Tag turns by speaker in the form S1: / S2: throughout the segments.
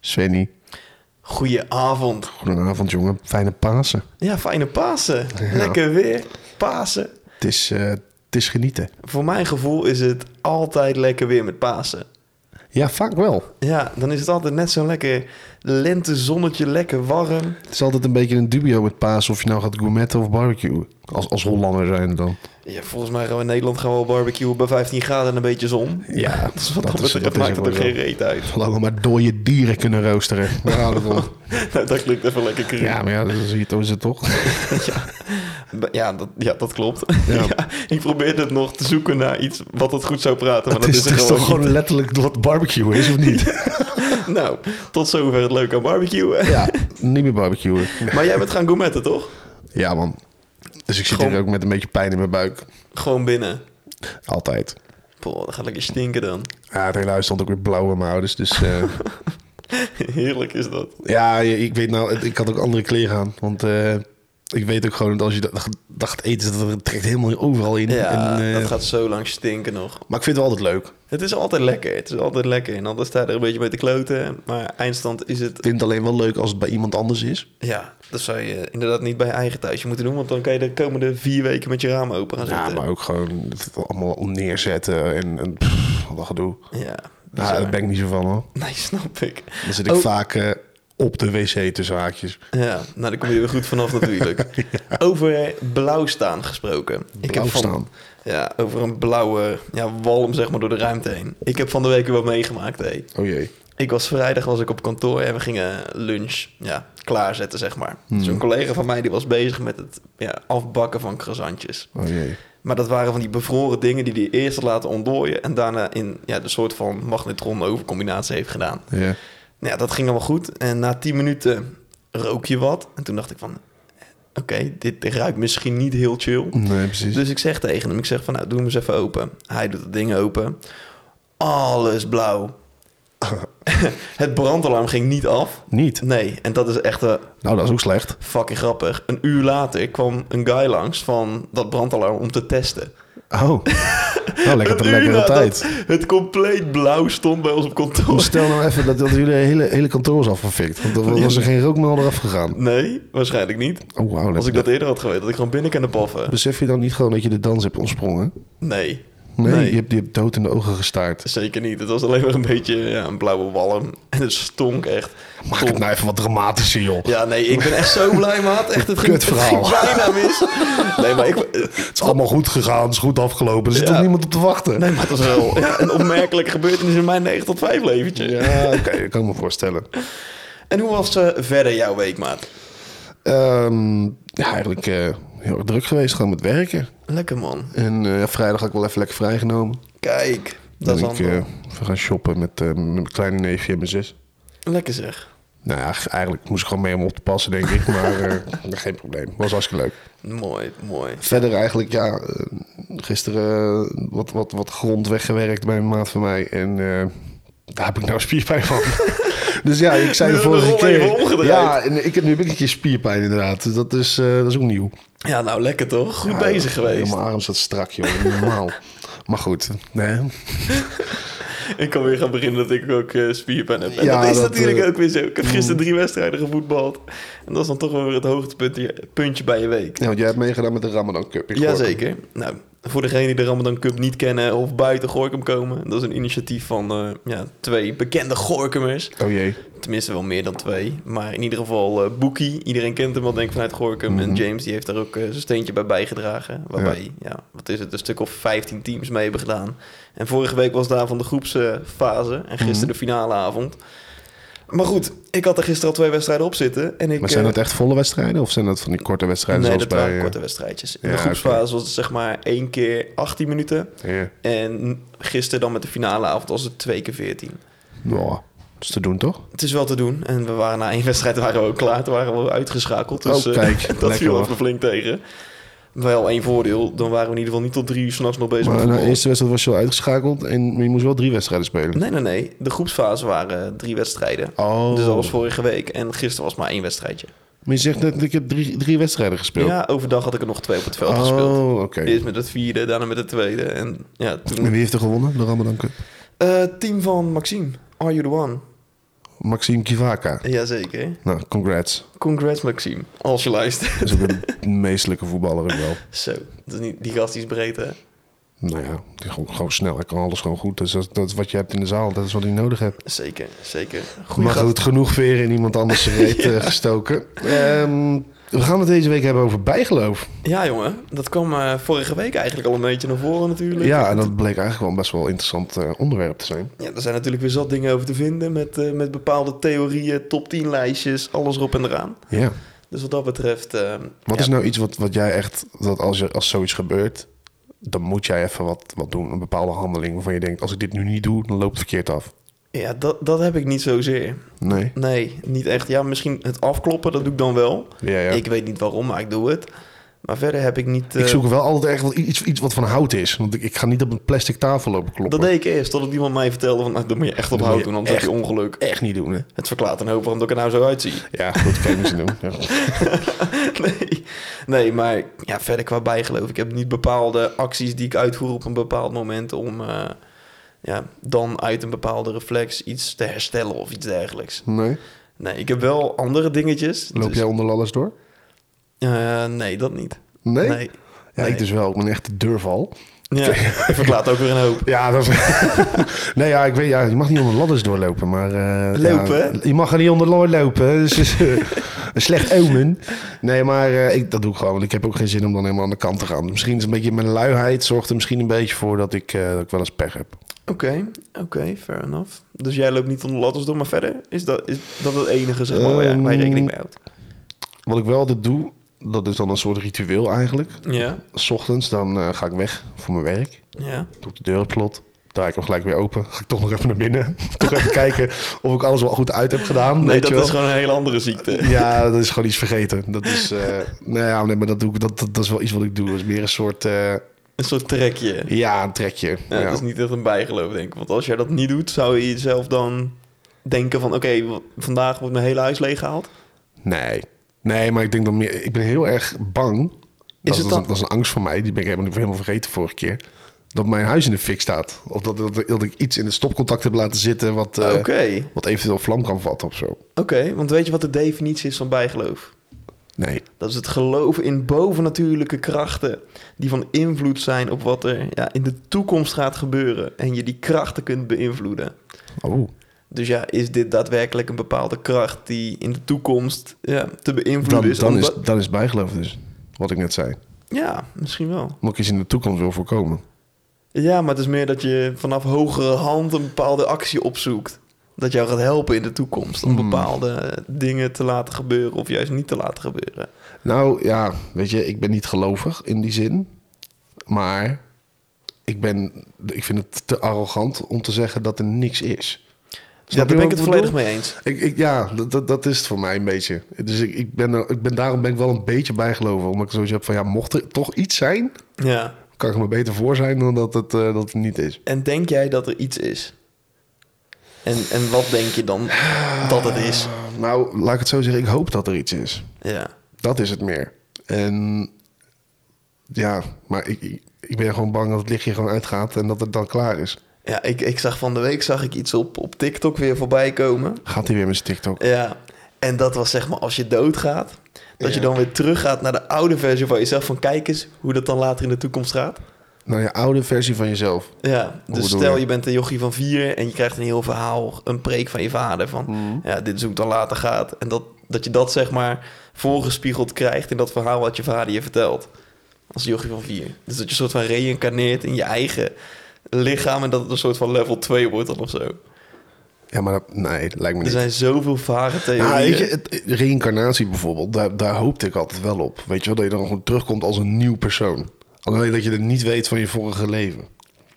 S1: Svenny,
S2: Goedenavond.
S1: goedenavond jongen. Fijne Pasen.
S2: Ja, fijne Pasen. Lekker weer. Pasen.
S1: Het is, eh, het is genieten.
S2: Voor mijn gevoel is het altijd lekker weer met Pasen.
S1: Ja, vaak wel.
S2: Ja, dan is het altijd net zo'n lekker lentezonnetje, lekker warm.
S1: Het is altijd een beetje een dubio met Pasen of je nou gaat gourmetten of barbecue. Als, als Hollander zijn dan.
S2: Ja, volgens mij gaan we in Nederland gewoon wel barbecuen bij 15 graden en een beetje zon.
S1: Ja,
S2: dus wat
S1: dat
S2: dat,
S1: is-
S2: betreft
S1: dat is
S2: maakt
S1: ook
S2: het er
S1: wel
S2: geen reet uit.
S1: Laat me maar dode dieren kunnen roosteren. Daar houden we van.
S2: Nou, dat klinkt even lekker cru.
S1: Ja, maar ja, dat is, dat is het toch?
S2: B- Ja, dat, ja, dat klopt.
S1: Ja.
S2: Ja. ik probeerde het nog te zoeken naar iets wat het goed zou praten, maar
S1: Het
S2: dat
S1: is,
S2: is, er
S1: het is
S2: gewoon
S1: toch gewoon letterlijk wat barbecue is, of niet?
S2: niet. Nou, tot zover het leuke aan barbecuen.
S1: Ja, niet meer barbecuen.
S2: Maar jij bent gaan gourmetten, toch?
S1: Ja, man. Dus ik zit
S2: Gewoon-
S1: hier ook met een beetje pijn in mijn buik.
S2: Gewoon binnen.
S1: Altijd.
S2: Boah, dat gaat lekker stinken dan.
S1: Ja, het hele huis stond ook weer blauw aan mijn ouders. Dus eh,
S2: Heerlijk is dat.
S1: ja, je- ik weet nou, het- ik had ook andere kleren aan. Want eh, ik weet ook gewoon dat als je dat, dat gaat eten, dat het trekt helemaal overal in.
S2: Ja,
S1: En, eh,
S2: dat gaat zo lang stinken nog.
S1: Maar ik vind het wel altijd leuk.
S2: Het is altijd lekker. Het is altijd lekker. En anders sta je er een beetje mee te kloten. Maar eindstand is het...
S1: Ik vind het alleen wel leuk als het bij iemand anders is.
S2: Ja, dat zou je inderdaad niet bij je eigen thuisje moeten doen. Want dan kan je de komende vier weken met je ramen open gaan
S1: Ja,
S2: zitten.
S1: maar ook gewoon het allemaal neerzetten en, en pff, wat een gedoe.
S2: Ja,
S1: Ja, daar
S2: bizar.
S1: ben ik niet zo van hoor.
S2: Nee, snap ik.
S1: Dan zit ik
S2: Oh.
S1: vaak eh, op de wc tussen haakjes.
S2: Ja, nou, daar kom je er weer goed vanaf natuurlijk. Over blauw staan gesproken.
S1: Blauw
S2: van-
S1: staan?
S2: ja, over een blauwe ja, walm zeg maar door de ruimte heen. Ik heb van de week wat meegemaakt, hé.
S1: Oh jee.
S2: Ik was vrijdag was ik op kantoor en we gingen lunch ja, klaarzetten, zeg maar. Zo'n collega van mij die was bezig met het ja, afbakken van croissantjes.
S1: Oh jee.
S2: Maar dat waren van die bevroren dingen die hij eerst had laten ontdooien... en daarna in ja, de soort van magnetron overcombinatie heeft gedaan.
S1: Ja.
S2: Nou ja, dat ging allemaal goed. En na 10 minuten rook je wat. En toen dacht ik van, eh, oké, dit ruikt misschien niet heel chill.
S1: Nee, precies.
S2: Dus ik zeg tegen hem, ik zeg van, nou, doe hem eens even open. Hij doet het ding open. Alles blauw. het brandalarm ging niet af.
S1: Niet.
S2: Nee, en dat is echt eh,
S1: Nou, dat is ook slecht.
S2: fucking grappig. Een uur later kwam een guy langs van dat brandalarm om te testen.
S1: Oh. Nou, lekker
S2: Een
S1: op
S2: uur
S1: lekkere
S2: nadat
S1: tijd.
S2: Het compleet blauw stond bij ons op
S1: Maar
S2: kantoor.
S1: Stel nou even dat, dat jullie hele, hele kantoor was afgefikt. Want dan was er geen rookmelder afgegaan.
S2: Nee, waarschijnlijk niet.
S1: Oh, wauw.
S2: Als ik dat eerder had geweten, dat ik gewoon binnen kan paffen.
S1: Besef je dan niet gewoon dat je de dans hebt ontsprongen?
S2: Nee.
S1: Nee,
S2: Nee.
S1: Je, hebt, je hebt dood in de ogen gestaard.
S2: Zeker niet. Het was alleen maar een beetje ja, een blauwe walm. En het stonk echt.
S1: Maak het nou even wat dramatischer, joh.
S2: Oh. Ja, nee, ik ben echt zo blij, maat. Echt, het ging, het
S1: Kutverhaal.
S2: ging bijna mis. Nee, maar ik...
S1: Het is allemaal goed gegaan, het is goed afgelopen. Er zit
S2: Ja.
S1: toch niemand op te wachten?
S2: Nee, maar het was wel ja, een opmerkelijke gebeurtenis in mijn 9 tot 5 leventje.
S1: Ja, oké, ik kan me voorstellen.
S2: En hoe was eh, verder jouw week, maat?
S1: Ehm, ja, eigenlijk eh, heel erg druk geweest, gewoon met werken.
S2: Lekker, man.
S1: En eh, vrijdag had ik wel even lekker vrijgenomen.
S2: Kijk, dat
S1: Dat
S2: is
S1: ben ik
S2: allemaal.
S1: eh, even gaan shoppen met, eh, met mijn kleine neefje en mijn zus.
S2: Lekker zeg.
S1: Nou ja, eigenlijk moest ik gewoon mee om op te passen, denk ik. Maar eh, geen probleem. Was hartstikke leuk.
S2: Mooi, mooi.
S1: Verder eigenlijk, ja, eh, gisteren eh, wat, wat, wat grond weggewerkt bij een maat van mij. En eh, daar heb ik nou spierpijn van. dus ja, ik zei
S2: Nu
S1: de
S2: hebben we de
S1: vorige
S2: rol even
S1: keer...
S2: omgedraaid.
S1: Ja, en ik heb nu heb ik een keer spierpijn inderdaad. Dus dat is, eh, dat is ook nieuw.
S2: Ja, nou lekker toch? Goed
S1: Ja,
S2: bezig geweest.
S1: Mijn arm staat strak, joh. Normaal. maar goed, nee.
S2: Ik kan weer gaan beginnen dat ik ook eh, spierpijn heb. En
S1: Ja,
S2: dat mm. is
S1: dat,
S2: natuurlijk
S1: eh,
S2: ook weer zo. Ik heb gisteren drie wedstrijden gevoetbald. En dat is dan toch wel weer het hoogtepuntje puntje bij je week.
S1: Ja, want jij hebt meegedaan met de Ramadan Cup. in Gorkum.
S2: Jazeker. Nou, voor degenen die de Ramadan Cup niet kennen of buiten Gorkum komen. Dat is een initiatief van eh, ja, twee bekende Gorkumers.
S1: Oh jee.
S2: Tenminste wel meer dan twee. Maar in ieder geval eh Boekie. Iedereen kent hem wel denk ik vanuit Gorkum. En
S1: Mhm.
S2: James die heeft daar ook eh, zijn steentje bij bijgedragen. Waarbij, ja. wat is het, een stuk of 15 teams mee hebben gedaan. En vorige week was daarvan de groepsfase. En gisteren
S1: Mhm.
S2: de finaleavond. Maar goed, ik had er gisteren al twee wedstrijden op zitten. En ik,
S1: Maar zijn
S2: eh,
S1: dat echt volle wedstrijden? Of zijn dat van die korte wedstrijden
S2: Nee, dat
S1: zoals bij...
S2: waren
S1: eh,
S2: korte wedstrijdjes. In
S1: ja,
S2: de groepsfase was het zeg maar één keer 18 minuten.
S1: Ja.
S2: En gisteren dan met de finaleavond was het twee keer 14.
S1: Nou, dat is te doen, toch?
S2: Het is wel te doen. En we waren na één wedstrijd waren we ook klaar. Toen waren we uitgeschakeld. Dus
S1: Oh,
S2: eh,
S1: kijk,
S2: dat
S1: lekker,
S2: viel
S1: hoor.
S2: even flink tegen. Wel één voordeel. Dan waren we in ieder geval niet tot drie uur s'nachts nog bezig
S1: Maar nou,
S2: met
S1: na de eerste
S2: voetbal.
S1: wedstrijd was je al uitgeschakeld en je moest wel drie wedstrijden spelen.
S2: Nee, nee, nee. De groepsfase waren drie wedstrijden.
S1: Oh.
S2: Dus dat was vorige week. En gisteren was maar één wedstrijdje.
S1: Maar je zegt net, ik heb drie, drie wedstrijden gespeeld.
S2: Ja, overdag had ik er nog twee op het veld gespeeld.
S1: oh, oké.
S2: Eerst met het vierde, daarna met het tweede. En ja, toen...
S1: En wie heeft er gewonnen? De Ramadan Cup.
S2: Eh, team van Maxime. Are you the one?
S1: Maxime Kivaka.
S2: Jazeker.
S1: Nou, congrats.
S2: Congrats, Maxime. Als je luistert.
S1: Dat is ook een meestelijke voetballer ook wel.
S2: Zo, dat is niet, die gast die is breed, hè?
S1: Nou ja, die gewoon, gewoon snel. Hij kan alles gewoon goed. Dus dat, dat is wat je hebt in de zaal. Dat is wat hij nodig hebt.
S2: Zeker, zeker. Goeie
S1: Maar
S2: gast.
S1: goed, genoeg veren in iemand anders zijn reet eh, gestoken. Ehm, we gaan het deze week hebben over bijgeloof.
S2: Ja, jongen. Dat kwam eh, vorige week eigenlijk al een beetje naar voren natuurlijk.
S1: Ja, en dat bleek eigenlijk wel een best wel interessant eh, onderwerp te zijn.
S2: Ja, er zijn natuurlijk weer zat dingen over te vinden met, eh, met bepaalde theorieën, top 10 lijstjes, alles erop en eraan.
S1: Ja.
S2: Dus wat dat betreft... eh,
S1: Wat
S2: ja,
S1: is nou iets wat, wat jij echt, dat als, je, als zoiets gebeurt, dan moet jij even wat, wat doen. Een bepaalde handeling waarvan je denkt, als ik dit nu niet doe, dan loopt het verkeerd af.
S2: Ja, dat, dat heb ik niet zozeer.
S1: Nee.
S2: Nee, niet echt. Ja, misschien het afkloppen, dat doe ik dan wel.
S1: Ja, ja.
S2: Ik
S1: Ik,
S2: weet niet waarom, maar ik doe het. Maar verder heb ik niet... eh,
S1: zoek wel altijd echt wat, iets, iets wat van hout is. Want ik, ik ga niet op een plastic tafel lopen kloppen.
S2: dat deed ik eerst, totdat iemand mij vertelde van... Nou, dat moet je echt op
S1: Dat
S2: hout
S1: moet
S2: doen,
S1: je
S2: anders heb je ongeluk.
S1: echt niet doen, hè?
S2: Het verklaart een hoop waarom dat ik er nou zo uitzie.
S1: Ja, goed, kan je niet doen. Ja.
S2: nee. nee, maar ja, verder qua bijgeloof. Ik heb niet bepaalde acties die ik uitvoer op een bepaald moment om eh, ja, dan uit een bepaalde reflex iets te herstellen of iets dergelijks.
S1: Nee.
S2: Nee, ik heb wel andere dingetjes.
S1: Loop
S2: dus-
S1: jij onder ladders door?
S2: Eh, nee, dat niet.
S1: Nee? Ja,
S2: nee.
S1: ik dus wel. Ik ben echt de deurval.
S2: Ja, dat verklaart ook weer een hoop.
S1: Ja, dat nee, ja, ik weet, ja, je mag niet onder ladders doorlopen, maar... eh,
S2: Lopen,
S1: ja, je mag er niet onder lo- lopen, hè. dus is eh, een slecht omen. Nee, maar eh, ik, dat doe ik gewoon, want ik heb ook geen zin om dan helemaal aan de kant te gaan. Misschien is een beetje mijn luiheid zorgt er misschien een beetje voor dat ik, eh, dat ik wel eens pech heb.
S2: Oké, oké, fair enough. Dus jij loopt niet onder de ladders door, maar verder is dat, is dat het enige zeg maar, waar
S1: Ehm,
S2: jij- waar je rekening mee houdt.
S1: Wat ik wel altijd doe, dat is dan een soort ritueel eigenlijk.
S2: Ja,
S1: S ochtends, dan eh, ga ik weg voor mijn werk.
S2: ja.
S1: Doe ik de deur op slot. Draai ik hem gelijk weer open. Ga ik toch nog even naar binnen. toch even kijken of ik alles wel goed uit heb gedaan.
S2: Nee,
S1: weet
S2: dat
S1: je wel.
S2: is gewoon een hele andere ziekte.
S1: Ja, dat is gewoon iets vergeten. Dat is, eh nou ja, nee, maar dat, doe ik, dat, dat, dat is wel iets wat ik doe. Dat is meer een soort, eh,
S2: Een soort trekje.
S1: ja, een trekje.
S2: Ja,
S1: Ja.
S2: Dat is niet echt een bijgeloof, denk ik. Want als jij dat niet doet, zou je jezelf dan denken van... oké, w- vandaag wordt mijn hele huis leeggehaald.
S1: Nee. Nee, maar ik denk dan meer, ik ben heel erg bang. Dat,
S2: het
S1: dat,
S2: dan-
S1: dat is een angst van mij, die ben ik helemaal, helemaal vergeten vorige keer. Dat mijn huis in de fik staat. Of dat, dat, dat ik iets in het stopcontact heb laten zitten wat, eh,
S2: Oké,
S1: wat eventueel vlam kan vatten of zo.
S2: oké. Want weet je wat de definitie is van bijgeloof?
S1: Nee.
S2: Dat is het geloof in bovennatuurlijke krachten... die van invloed zijn op wat er ja, in de toekomst gaat gebeuren... en je die krachten kunt beïnvloeden.
S1: Oh.
S2: Dus ja, is dit daadwerkelijk een bepaalde kracht... die in de toekomst ja, te beïnvloeden
S1: Dan,
S2: is?
S1: dan, is,
S2: omdat-
S1: dan is bijgeloof dus, wat ik net zei.
S2: Ja, misschien wel.
S1: Moet ik iets in de toekomst wil voorkomen.
S2: Ja, maar het is meer dat je vanaf hogere hand een bepaalde actie opzoekt. Dat jou gaat helpen in de toekomst om
S1: Hmm.
S2: bepaalde eh, dingen te laten gebeuren of juist niet te laten gebeuren.
S1: Nou ja, weet je, ik ben niet gelovig in die zin. Maar ik, ben, ik vind het te arrogant om te zeggen dat er niks is.
S2: Ja, Dus daar ben ik het volledig mee eens.
S1: mee. Ik, ik, ja, dat, dat, dat is het voor mij een beetje. Dus ik, ik ben er, ik ben, daarom ben ik wel een beetje bijgeloven. Omdat ik sowieso heb van ja, mocht er toch iets zijn,
S2: Ja.
S1: kan ik er maar beter voor zijn dan dat het, eh, dat het niet is.
S2: En denk jij dat er iets is? En, en wat denk je dan dat het is?
S1: Nou, laat ik het zo zeggen, ik hoop dat er iets is.
S2: Ja.
S1: Dat is het meer. En ja, maar ik, ik, ik ben gewoon bang dat het lichtje gewoon uitgaat en dat het dan klaar is.
S2: Ja, ik, ik zag van de week zag ik iets op, op TikTok weer voorbij komen.
S1: Gaat hij weer met zijn TikTok?
S2: Ja, en dat was zeg maar als je doodgaat, dat je
S1: Ja.
S2: dan weer teruggaat naar de oude versie van jezelf. Van kijk eens hoe dat dan later in de toekomst gaat.
S1: Nou, je oude versie van jezelf.
S2: Ja, dus
S1: bedoel
S2: stel
S1: je?
S2: je bent een jochie van vier en je krijgt een heel verhaal, een preek van je vader van
S1: Mhm.
S2: ja, dit is hoe het dan later gaat. En dat, dat je dat zeg maar voorgespiegeld krijgt in dat verhaal wat je vader je vertelt. Als jochie van vier. Dus dat je soort van reïncarneert in je eigen lichaam en dat het een soort van level 2 wordt dan of zo.
S1: Ja, maar dat, nee, dat lijkt me
S2: Er
S1: niet.
S2: zijn zoveel vage theorieën.
S1: Nou, weet je, het, reïncarnatie bijvoorbeeld, daar, daar hoopte ik altijd wel op. Weet je wel, dat je dan gewoon terugkomt als een nieuw persoon. Alleen dat je het niet weet van je vorige leven.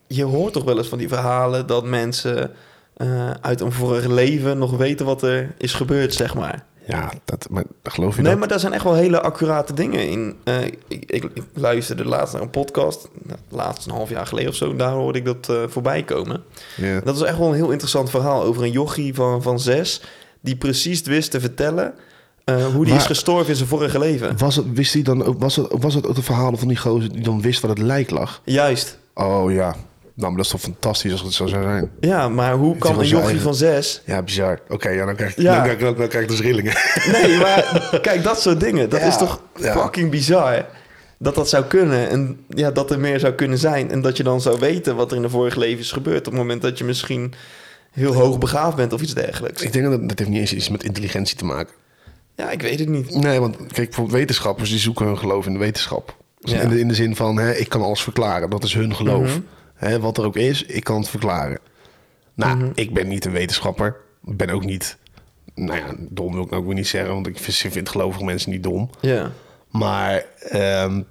S2: je hoort toch wel eens van die verhalen dat mensen eh, uit een vorig leven nog weten wat er is gebeurd, zeg maar.
S1: Ja, dat, maar geloof je
S2: Nee,
S1: dat?
S2: maar daar zijn echt wel hele accurate dingen in. Eh, ik, ik, ik luisterde laatst naar een podcast, nou, laatst een half jaar geleden of zo, daar hoorde ik dat eh, voorbij komen.
S1: Ja.
S2: En dat is echt wel een heel interessant verhaal over een jochie van, van zes, die precies wist te vertellen eh, hoe die
S1: Maar-
S2: is gestorven in zijn vorige leven.
S1: Was het, wist hij dan ook, was het, was het ook de verhalen van die gozer die dan wist waar het lijk lag?
S2: Juist.
S1: Oh ja, Nou, maar dat is toch fantastisch als het zo zou zijn.
S2: Ja, maar hoe kan
S1: wel
S2: een
S1: zijn
S2: jochie
S1: eigen-
S2: van zes...
S1: Ja, bizar. Oké, ja, dan krijg ik
S2: Ja.
S1: dan krijg ik ook- dan krijg ik dus rillingen.
S2: Nee, maar kijk, dat soort dingen. Dat
S1: Ja,
S2: is toch
S1: ja.
S2: fucking bizar. Dat dat zou kunnen en ja, dat er meer zou kunnen zijn. En dat je dan zou weten wat er in de vorige leven is gebeurd. Op het moment dat je misschien heel hoog begaafd bent of iets dergelijks.
S1: ik denk dat dat heeft niet eens iets met intelligentie te maken.
S2: Ja, ik weet het niet.
S1: Nee, want kijk, bijvoorbeeld wetenschappers die zoeken hun geloof in de wetenschap. Dus
S2: Ja.
S1: in, de, in de zin van, hè, ik kan alles verklaren. Dat is hun geloof. Hè, wat er ook is, ik kan het verklaren. Nou, ik ben niet een wetenschapper. Ik ben ook niet, nou ja, dom wil ik nou ook weer niet zeggen. Want ik vind, vind gelovige mensen niet dom.
S2: Ja,
S1: Maar ehm,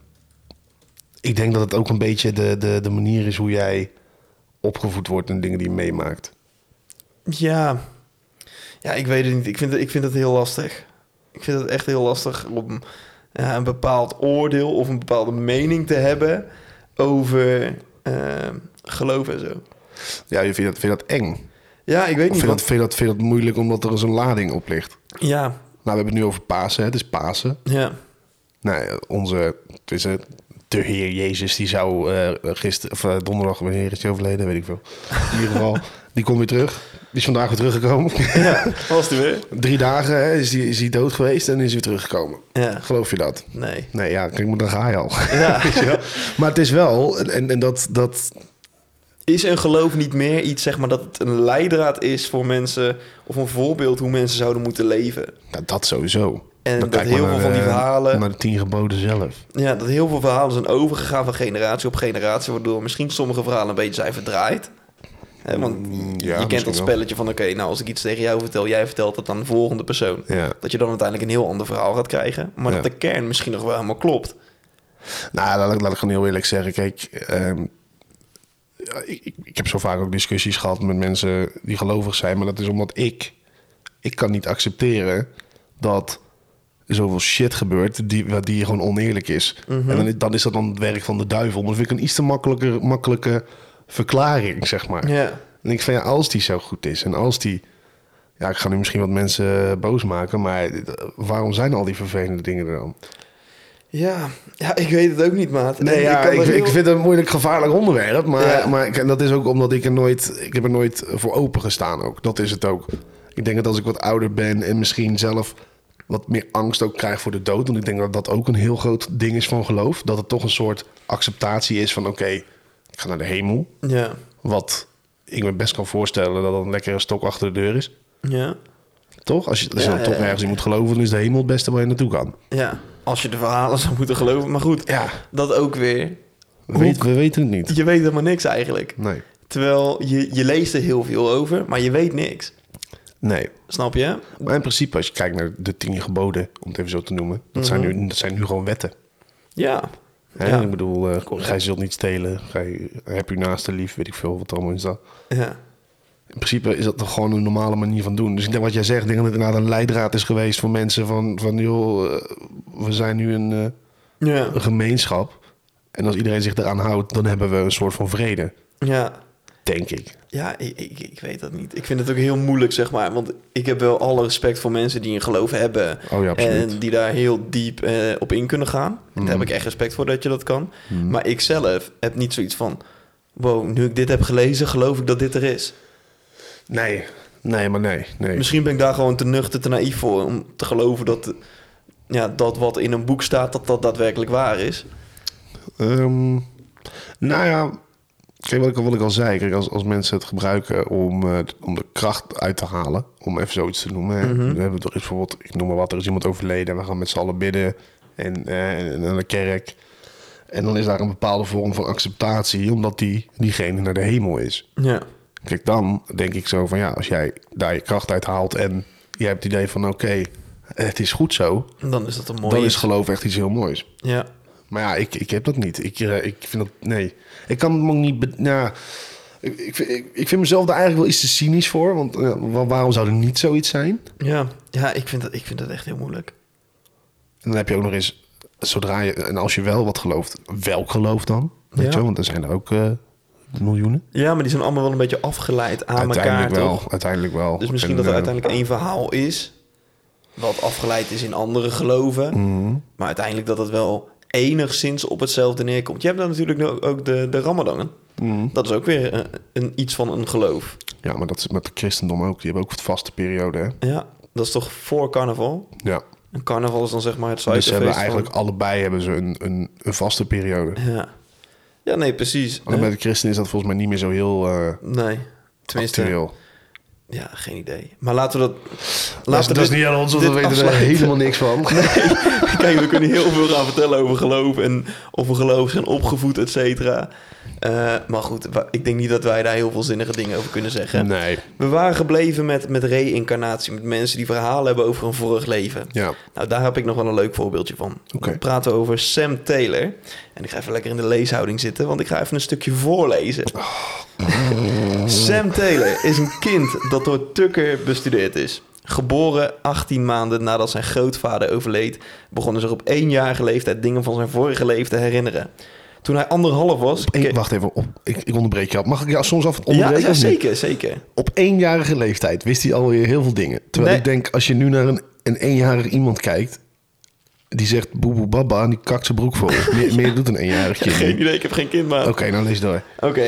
S1: ik denk dat het ook een beetje de, de, de manier is hoe jij opgevoed wordt en dingen die je meemaakt.
S2: ja. ja ik weet het niet. Ik vind het, ik vind het heel lastig. Ik vind het echt heel lastig om ja, een bepaald oordeel of een bepaalde mening te hebben over eh, geloof en zo.
S1: Ja, je vindt dat, vind je dat eng.
S2: Ja, ik weet
S1: Of
S2: niet.
S1: vind je dat,
S2: Wat,
S1: vind je dat, vind je dat moeilijk omdat er zo'n lading op ligt?
S2: ja,
S1: Nou, we hebben het nu over Pasen. Hè? Het is Pasen.
S2: ja.
S1: Nou, ja, onze, het is het, de Heer Jezus, die zou eh gisteren, of eh, donderdag, wanneer is hij overleden? Weet ik veel. In ieder geval, die komt weer terug. Die is vandaag weer teruggekomen.
S2: Ja, was het weer?
S1: Drie dagen hè, is hij die, is die dood geweest en is hij weer teruggekomen.
S2: Ja,
S1: Geloof je dat?
S2: nee.
S1: Nee, ja, kijk, maar dan ga je al.
S2: Ja.
S1: Weet je wel? Maar het is wel, en, en dat, dat,
S2: Is een geloof niet meer iets, zeg maar, dat het een leidraad is voor mensen... of een voorbeeld hoe mensen zouden moeten leven?
S1: nou, dat sowieso.
S2: En dat
S1: kijk maar
S2: heel veel van die
S1: eh,
S2: verhalen-
S1: Naar de tien geboden zelf.
S2: Ja, dat heel veel verhalen zijn overgegaan van generatie op generatie... waardoor misschien sommige verhalen een beetje zijn verdraaid. Hè, want
S1: Mm, ja,
S2: je kent
S1: misschien
S2: dat
S1: wel.
S2: spelletje van... oké, nou, als ik iets tegen jou vertel, jij vertelt het aan de volgende persoon.
S1: Ja.
S2: Dat je dan uiteindelijk een heel ander verhaal gaat krijgen... maar
S1: Ja.
S2: dat de kern misschien nog wel helemaal klopt.
S1: Nou, laat ik, laat ik gewoon heel eerlijk zeggen. Kijk, ehm, ja, ik, ik, ik heb zo vaak ook discussies gehad met mensen die gelovig zijn. Maar dat is omdat ik, ik kan niet accepteren dat er zoveel shit gebeurt die, wat- die gewoon oneerlijk is. En dan, is- dan is dat dan het werk van de duivel. Maar dat vind ik een iets te makkelijke, makkelijke verklaring, zeg maar.
S2: Ja,
S1: En ik vind, ja, als die zo goed is en als die... Ja, ik ga nu misschien wat mensen boos maken, maar eh, waarom zijn al die vervelende dingen er dan?
S2: ja. ja ik weet het ook niet, maat. En
S1: Nee, ja,
S2: kan
S1: ik,
S2: er heel-
S1: ik vind het een moeilijk gevaarlijk onderwerp. Maar,
S2: Ja.
S1: maar ik- en dat is ook omdat ik er nooit... Ik heb er nooit voor open gestaan ook. Dat is het ook. Ik denk dat als ik wat ouder ben en misschien zelf wat meer angst ook krijg voor de dood. Want ik denk dat dat ook een heel groot ding is van geloof. Dat het toch een soort acceptatie is van oké, ik ga naar de hemel.
S2: Ja,
S1: Wat ik me best kan voorstellen dat dat een lekkere stok achter de deur is.
S2: ja.
S1: Toch? Als je, als je
S2: Ja,
S1: dan toch
S2: ja, ja.
S1: ergens in moet geloven, dan is de hemel het beste waar je naartoe kan.
S2: Ja, als je de verhalen zou moeten geloven. Maar goed,
S1: Ja,
S2: dat ook weer.
S1: we, weten- we weten het niet.
S2: Je weet helemaal niks eigenlijk.
S1: Nee.
S2: Terwijl je, je leest er heel veel over, maar je weet niks.
S1: Nee.
S2: Snap je?
S1: Maar in principe, als je kijkt naar de tien geboden, om het even zo te noemen, dat, zijn, nu, dat zijn nu gewoon wetten.
S2: Ja.
S1: Hè?
S2: Ja.
S1: Ik bedoel, eh, gij zult niet stelen, gij, heb je naaste lief, weet ik veel wat er allemaal in staat.
S2: ja.
S1: In principe is dat toch gewoon een normale manier van doen. Dus ik denk wat jij zegt, ik denk dat het inderdaad een leidraad is geweest voor mensen van, van joh, eh, we zijn nu een, eh,
S2: Ja.
S1: een gemeenschap. En als iedereen zich eraan houdt, dan hebben we een soort van vrede,
S2: Ja.
S1: denk ik.
S2: Ja, ik, ik, ik weet dat niet. Ik vind het ook heel moeilijk, zeg maar. Want ik heb wel alle respect voor mensen die een geloof hebben.
S1: Oh ja, absoluut. Mm.
S2: En die daar heel diep eh, op in kunnen gaan. Daar heb ik echt respect voor dat je dat kan. Maar ik zelf heb niet zoiets van... Wow, nu ik dit heb gelezen, geloof ik dat dit er is.
S1: Nee, nee, maar nee. nee.
S2: Misschien ben ik daar gewoon te nuchter, te naïef voor om te geloven dat, ja, dat wat in een boek staat, dat dat daadwerkelijk waar is.
S1: Ehm, nou ja, kijk wat ik, al- wat ik al zei. Kijk, als, als mensen het gebruiken om, eh, om de kracht uit te halen, om even zoiets te noemen. hè. We hebben toch iets bijvoorbeeld, ik noem maar wat, er is iemand overleden en we gaan met z'n allen bidden en, eh, en naar de kerk. En dan is daar een bepaalde vorm van acceptatie, omdat die, diegene naar de hemel is.
S2: Ja.
S1: Kijk, dan denk ik zo van ja, als jij daar je kracht uit haalt en jij hebt het idee van oké, het is goed zo,
S2: Dan is dat een mooie.
S1: dan is geloof echt iets heel moois.
S2: Ja.
S1: Maar ja, ik, ik heb dat niet. Ik, eh, ik vind dat... Nee. Ik kan het ook niet... be- nou, ik, ik, vind- ik, ik vind mezelf daar eigenlijk wel iets te cynisch voor. Want eh, wa- waarom zou er niet zoiets zijn?
S2: Ja, ja ik, vind dat, ik vind dat echt heel moeilijk.
S1: En dan heb je ook nog eens... Zodra je... En als je wel wat gelooft, welk geloof dan? Weet
S2: Ja.
S1: je wel? Want er zijn er ook eh, miljoenen.
S2: Ja, maar die zijn allemaal wel een beetje afgeleid aan elkaar,
S1: wel.
S2: toch?
S1: Uiteindelijk wel.
S2: Dus misschien
S1: En,
S2: dat er
S1: eh,
S2: uiteindelijk één verhaal is... wat afgeleid is in andere geloven...
S1: mhm.
S2: maar uiteindelijk dat het wel enigszins op hetzelfde neerkomt. Je hebt dan natuurlijk nu ook de, de ramadan.
S1: Mhm.
S2: Dat is ook weer eh, een, iets van een geloof.
S1: Ja, maar dat is met het christendom ook. Die hebben ook een vaste periode, hè?
S2: Ja, dat is toch voor carnaval?
S1: Ja.
S2: En carnaval is dan zeg maar het
S1: Dus
S2: suikerfeest.
S1: ze hebben
S2: van-
S1: eigenlijk allebei hebben ze een, een, een vaste periode.
S2: Ja. ja, nee, precies.
S1: Alleen bij de christenen is dat volgens mij niet meer zo heel eh
S2: Nee, tenminste...
S1: actueel.
S2: Ja, geen idee. Maar laten we dat...
S1: Dat is,
S2: Laten
S1: dat is niet aan ons, want
S2: dit
S1: we weten er
S2: afsluiten.
S1: helemaal niks van.
S2: Kijk, we kunnen heel veel gaan vertellen over geloof en of we geloof zijn opgevoed, et cetera. Eh, maar goed, wa- ik denk niet dat wij daar heel veel zinnige dingen over kunnen zeggen.
S1: Nee.
S2: We waren gebleven met, met reïncarnatie, met mensen die verhalen hebben over een vorig leven.
S1: Ja.
S2: Nou, daar heb ik nog wel een leuk voorbeeldje van.
S1: Oké.
S2: We praten over Sam Taylor. En ik ga even lekker in de leeshouding zitten, want ik ga even een stukje voorlezen.
S1: Oh.
S2: Sam Taylor is een kind dat door Tucker bestudeerd is. Geboren 18 maanden nadat zijn grootvader overleed, begonnen zich op éénjarige leeftijd dingen van zijn vorige leven te herinneren. Toen hij anderhalf was.
S1: Eén-
S2: ke-
S1: wacht even, op, ik, ik onderbreek je. al. Mag ik jou soms af
S2: ja,
S1: onderbreken?
S2: ja,
S1: of niet?
S2: zeker, zeker.
S1: Op eenjarige leeftijd wist hij alweer heel veel dingen. Terwijl
S2: Nee.
S1: ik denk, als je nu naar een, een eenjarig iemand kijkt... die zegt boeboe baba en die kakt zijn broek vol. Meer, meer doet een eenjarig kind
S2: Geen
S1: niet.
S2: idee, ik heb geen kind, maar.
S1: Oké, nou lees door.
S2: Oké.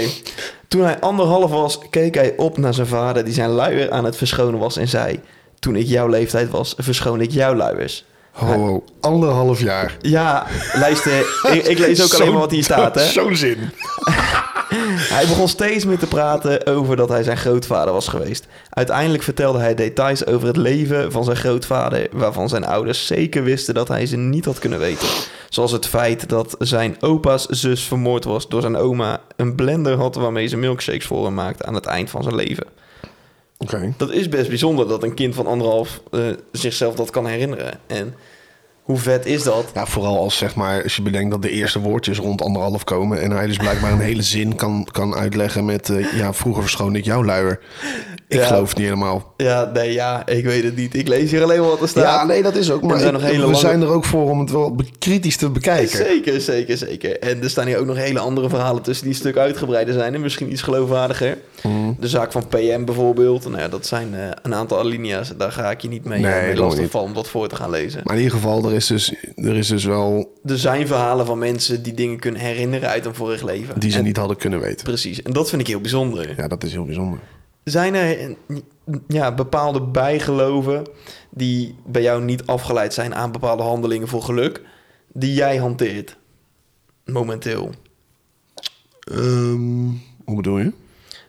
S2: Toen hij anderhalf was, keek hij op naar zijn vader die zijn luier aan het verschonen was en zei... Toen ik jouw leeftijd was, verschoon ik jouw luiers.
S1: Ho, ho, anderhalf jaar.
S2: Ja, luister, ik, ik lees ook alleen maar wat hier staat, hè.
S1: Zo'n zin.
S2: Hij begon steeds meer te praten over dat hij zijn grootvader was geweest. Uiteindelijk vertelde hij details over het leven van zijn grootvader, waarvan zijn ouders zeker wisten dat hij ze niet had kunnen weten. Zoals het feit dat zijn opa's zus vermoord was door zijn oma, een blender had waarmee ze milkshakes voor hem maakte aan het eind van zijn leven.
S1: Oké.
S2: Dat is best bijzonder dat een kind van anderhalf eh, zichzelf dat kan herinneren. En hoe vet is dat?
S1: Ja, vooral als, zeg maar, als je bedenkt dat de eerste woordjes rond anderhalf komen... en hij dus blijkbaar een hele zin kan, kan uitleggen met... eh, ja, vroeger verschoon ik jouw luier. Ik
S2: Ja.
S1: geloof het niet helemaal.
S2: Ja, nee, ja, ik weet het niet. Ik lees hier alleen maar wat er staat.
S1: Ja, nee, dat is ook.
S2: En
S1: Maar
S2: er zijn
S1: ik-
S2: nog hele
S1: we
S2: lange-
S1: zijn er ook voor om het wel be- kritisch te bekijken.
S2: Zeker, zeker, zeker. En er staan hier ook nog hele andere verhalen tussen die een stuk uitgebreider zijn en misschien iets geloofwaardiger.
S1: Mhm.
S2: De zaak van PM bijvoorbeeld. Nou ja, dat zijn eh, een aantal alinea's. Daar ga ik je niet mee,
S1: Nee,
S2: eh, mee
S1: helemaal
S2: lastig
S1: niet.
S2: vallen om dat voor te gaan lezen.
S1: Maar in ieder geval, er is dus, er is dus wel
S2: Er zijn verhalen van mensen die dingen kunnen herinneren uit een vorig leven.
S1: die ze
S2: En-
S1: niet hadden kunnen weten.
S2: Precies. En dat vind ik heel bijzonder.
S1: Ja, dat is heel bijzonder.
S2: Zijn er eh, ja, bepaalde bijgeloven die bij jou niet afgeleid zijn aan bepaalde handelingen voor geluk, die jij hanteert? Momenteel.
S1: Ehm, hoe bedoel je?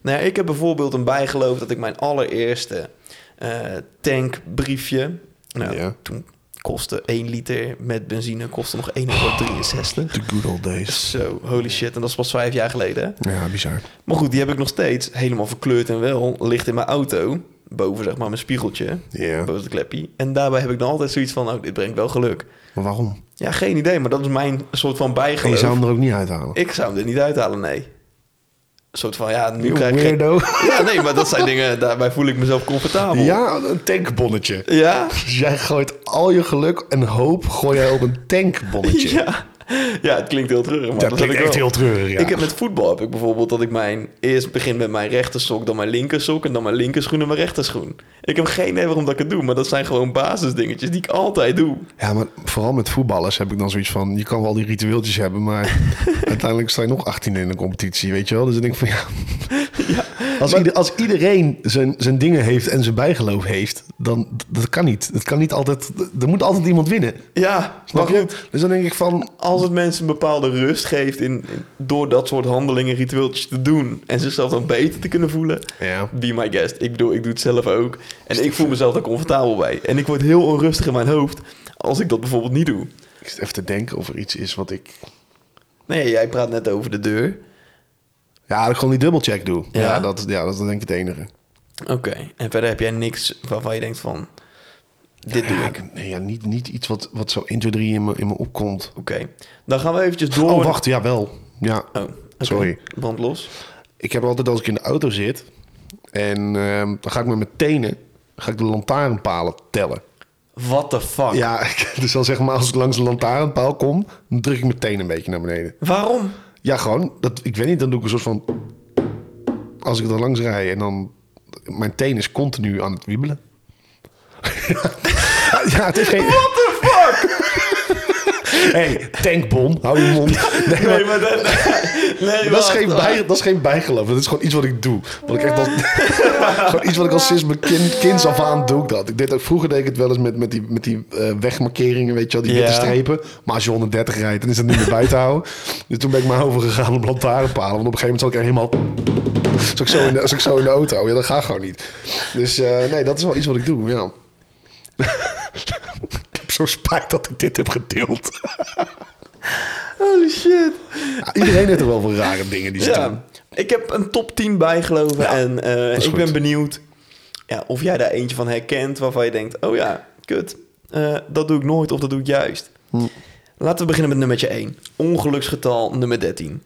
S2: Nou ja, ik heb bijvoorbeeld een bijgeloof dat ik mijn allereerste eh, tankbriefje. Nou,
S1: Ja.
S2: toen kostte 1 liter met benzine kostte nog 1,63 euro.
S1: The good old days.
S2: Zo, holy shit. En dat is pas vijf jaar geleden. hè?
S1: Ja, bizar.
S2: Maar goed, die heb ik nog steeds helemaal verkleurd en wel. Ligt in mijn auto. Boven zeg maar mijn spiegeltje.
S1: Ja.
S2: Boven het klepje. En daarbij heb ik dan altijd zoiets van, nou, dit brengt wel geluk.
S1: Maar waarom?
S2: Ja, geen idee, maar dat is mijn soort van
S1: En je
S2: bijgeloof.
S1: zou hem er ook niet uithalen.
S2: Ik zou hem er niet uithalen, nee. Een soort van, ja, nu
S1: You
S2: krijg ik... geen-
S1: weirdo.
S2: Ja, nee, maar dat zijn dingen, daarbij voel ik mezelf comfortabel.
S1: Ja, een tankbonnetje.
S2: Ja?
S1: Dus jij gooit al je geluk en hoop gooi jij op een tankbonnetje.
S2: Ja. Ja, het klinkt heel treurig, maar
S1: dat
S2: dat heb
S1: klinkt
S2: ik wel.
S1: echt heel treurig, ja.
S2: Ik heb met voetbal heb ik bijvoorbeeld dat ik mijn eerst begin met mijn rechtersok, dan mijn linkersok en dan mijn linkerschoen en mijn rechterschoen. Ik heb geen idee waarom dat ik het doe, maar dat zijn gewoon basisdingetjes die ik altijd doe.
S1: Ja, maar vooral met voetballers heb ik dan zoiets van... je kan wel die ritueeltjes hebben, maar uiteindelijk sta je nog 18 in de competitie, weet je wel? Dus dan denk ik van ja... als, ieder- als iedereen zijn, zijn dingen heeft en zijn bijgeloof heeft... dan dat kan niet. Het kan niet altijd... Er moet altijd iemand winnen.
S2: Ja, maar
S1: Snap
S2: goed.
S1: je? Dus dan denk ik van...
S2: Als het mensen een bepaalde rust geeft in, in- door dat soort handelingen, ritueeltjes te doen en zichzelf dan beter te kunnen voelen,
S1: Ja.
S2: be my guest. Ik bedoel, ik doe het zelf ook. En ik voel mezelf daar comfortabel bij. En ik word heel onrustig in mijn hoofd als ik dat bijvoorbeeld niet doe.
S1: Ik zit even te denken of er iets is wat ik...
S2: Nee, jij praat net over de deur.
S1: Ja, dat ik gewoon die dubbelcheck doe.
S2: Ja?
S1: Ja, dat, ja, dat is denk ik het enige.
S2: Oké, en verder heb jij niks waarvan je denkt van, dit doe
S1: Ja,
S2: ik. Oké,
S1: nee, ja, niet, niet iets wat, wat zo 1, 2, 3 in me, in me opkomt.
S2: dan gaan we eventjes door.
S1: Oh, wacht. Ja, wel. Ja.
S2: Oh, oké.
S1: Sorry.
S2: Brand los.
S1: Ik heb altijd als ik in de auto zit en ehm, dan ga ik met mijn tenen ga ik de lantaarnpalen tellen.
S2: What the fuck?
S1: Ja, dus dan zeg maar als ik langs een lantaarnpaal kom, dan druk ik mijn tenen een beetje naar beneden.
S2: Waarom?
S1: Ja, gewoon. Dat, ik weet niet, dan doe ik een soort van... Als ik er langs rij en dan... Mijn teen is continu aan het wiebelen. ja, het is geen...
S2: What the fuck?
S1: hey, tankbon, hou je mond. Nee, maar,
S2: Nee, maar dat... Nee,
S1: dat, is
S2: wacht.
S1: geen bij, dat is geen bijgeloof. Dat is gewoon iets wat ik doe. Wat ik echt als, gewoon iets wat ik al sinds mijn kind, kinds af aan doe ik dat. Ik deed ook, vroeger deed ik het wel eens met, met die, met die eh, wegmarkeringen, weet je wel, die
S2: Ja.
S1: witte strepen. Maar als je 130 rijdt, dan is dat niet meer bij te houden. Dus toen ben ik maar overgegaan op lantaarnpalen. Want op een gegeven moment zat ik er helemaal... Zat ik zo in de, zat ik zo in de auto. Ja, dat gaat gewoon niet. Dus eh, nee, dat is wel iets wat ik doe, ja. ik heb zo spijt dat ik dit heb gedeeld.
S2: Holy shit.
S1: Ja, iedereen heeft er wel van rare dingen die ze doen.
S2: Ja, ik heb een top 10 bijgeloven en eh,
S1: is
S2: ik
S1: goed.
S2: ben benieuwd ja, of jij daar eentje van herkent waarvan je denkt, oh ja, kut, eh, dat doe ik nooit of dat doe ik juist.
S1: Hm.
S2: Laten we beginnen met nummertje 1. Ongeluksgetal nummer 13.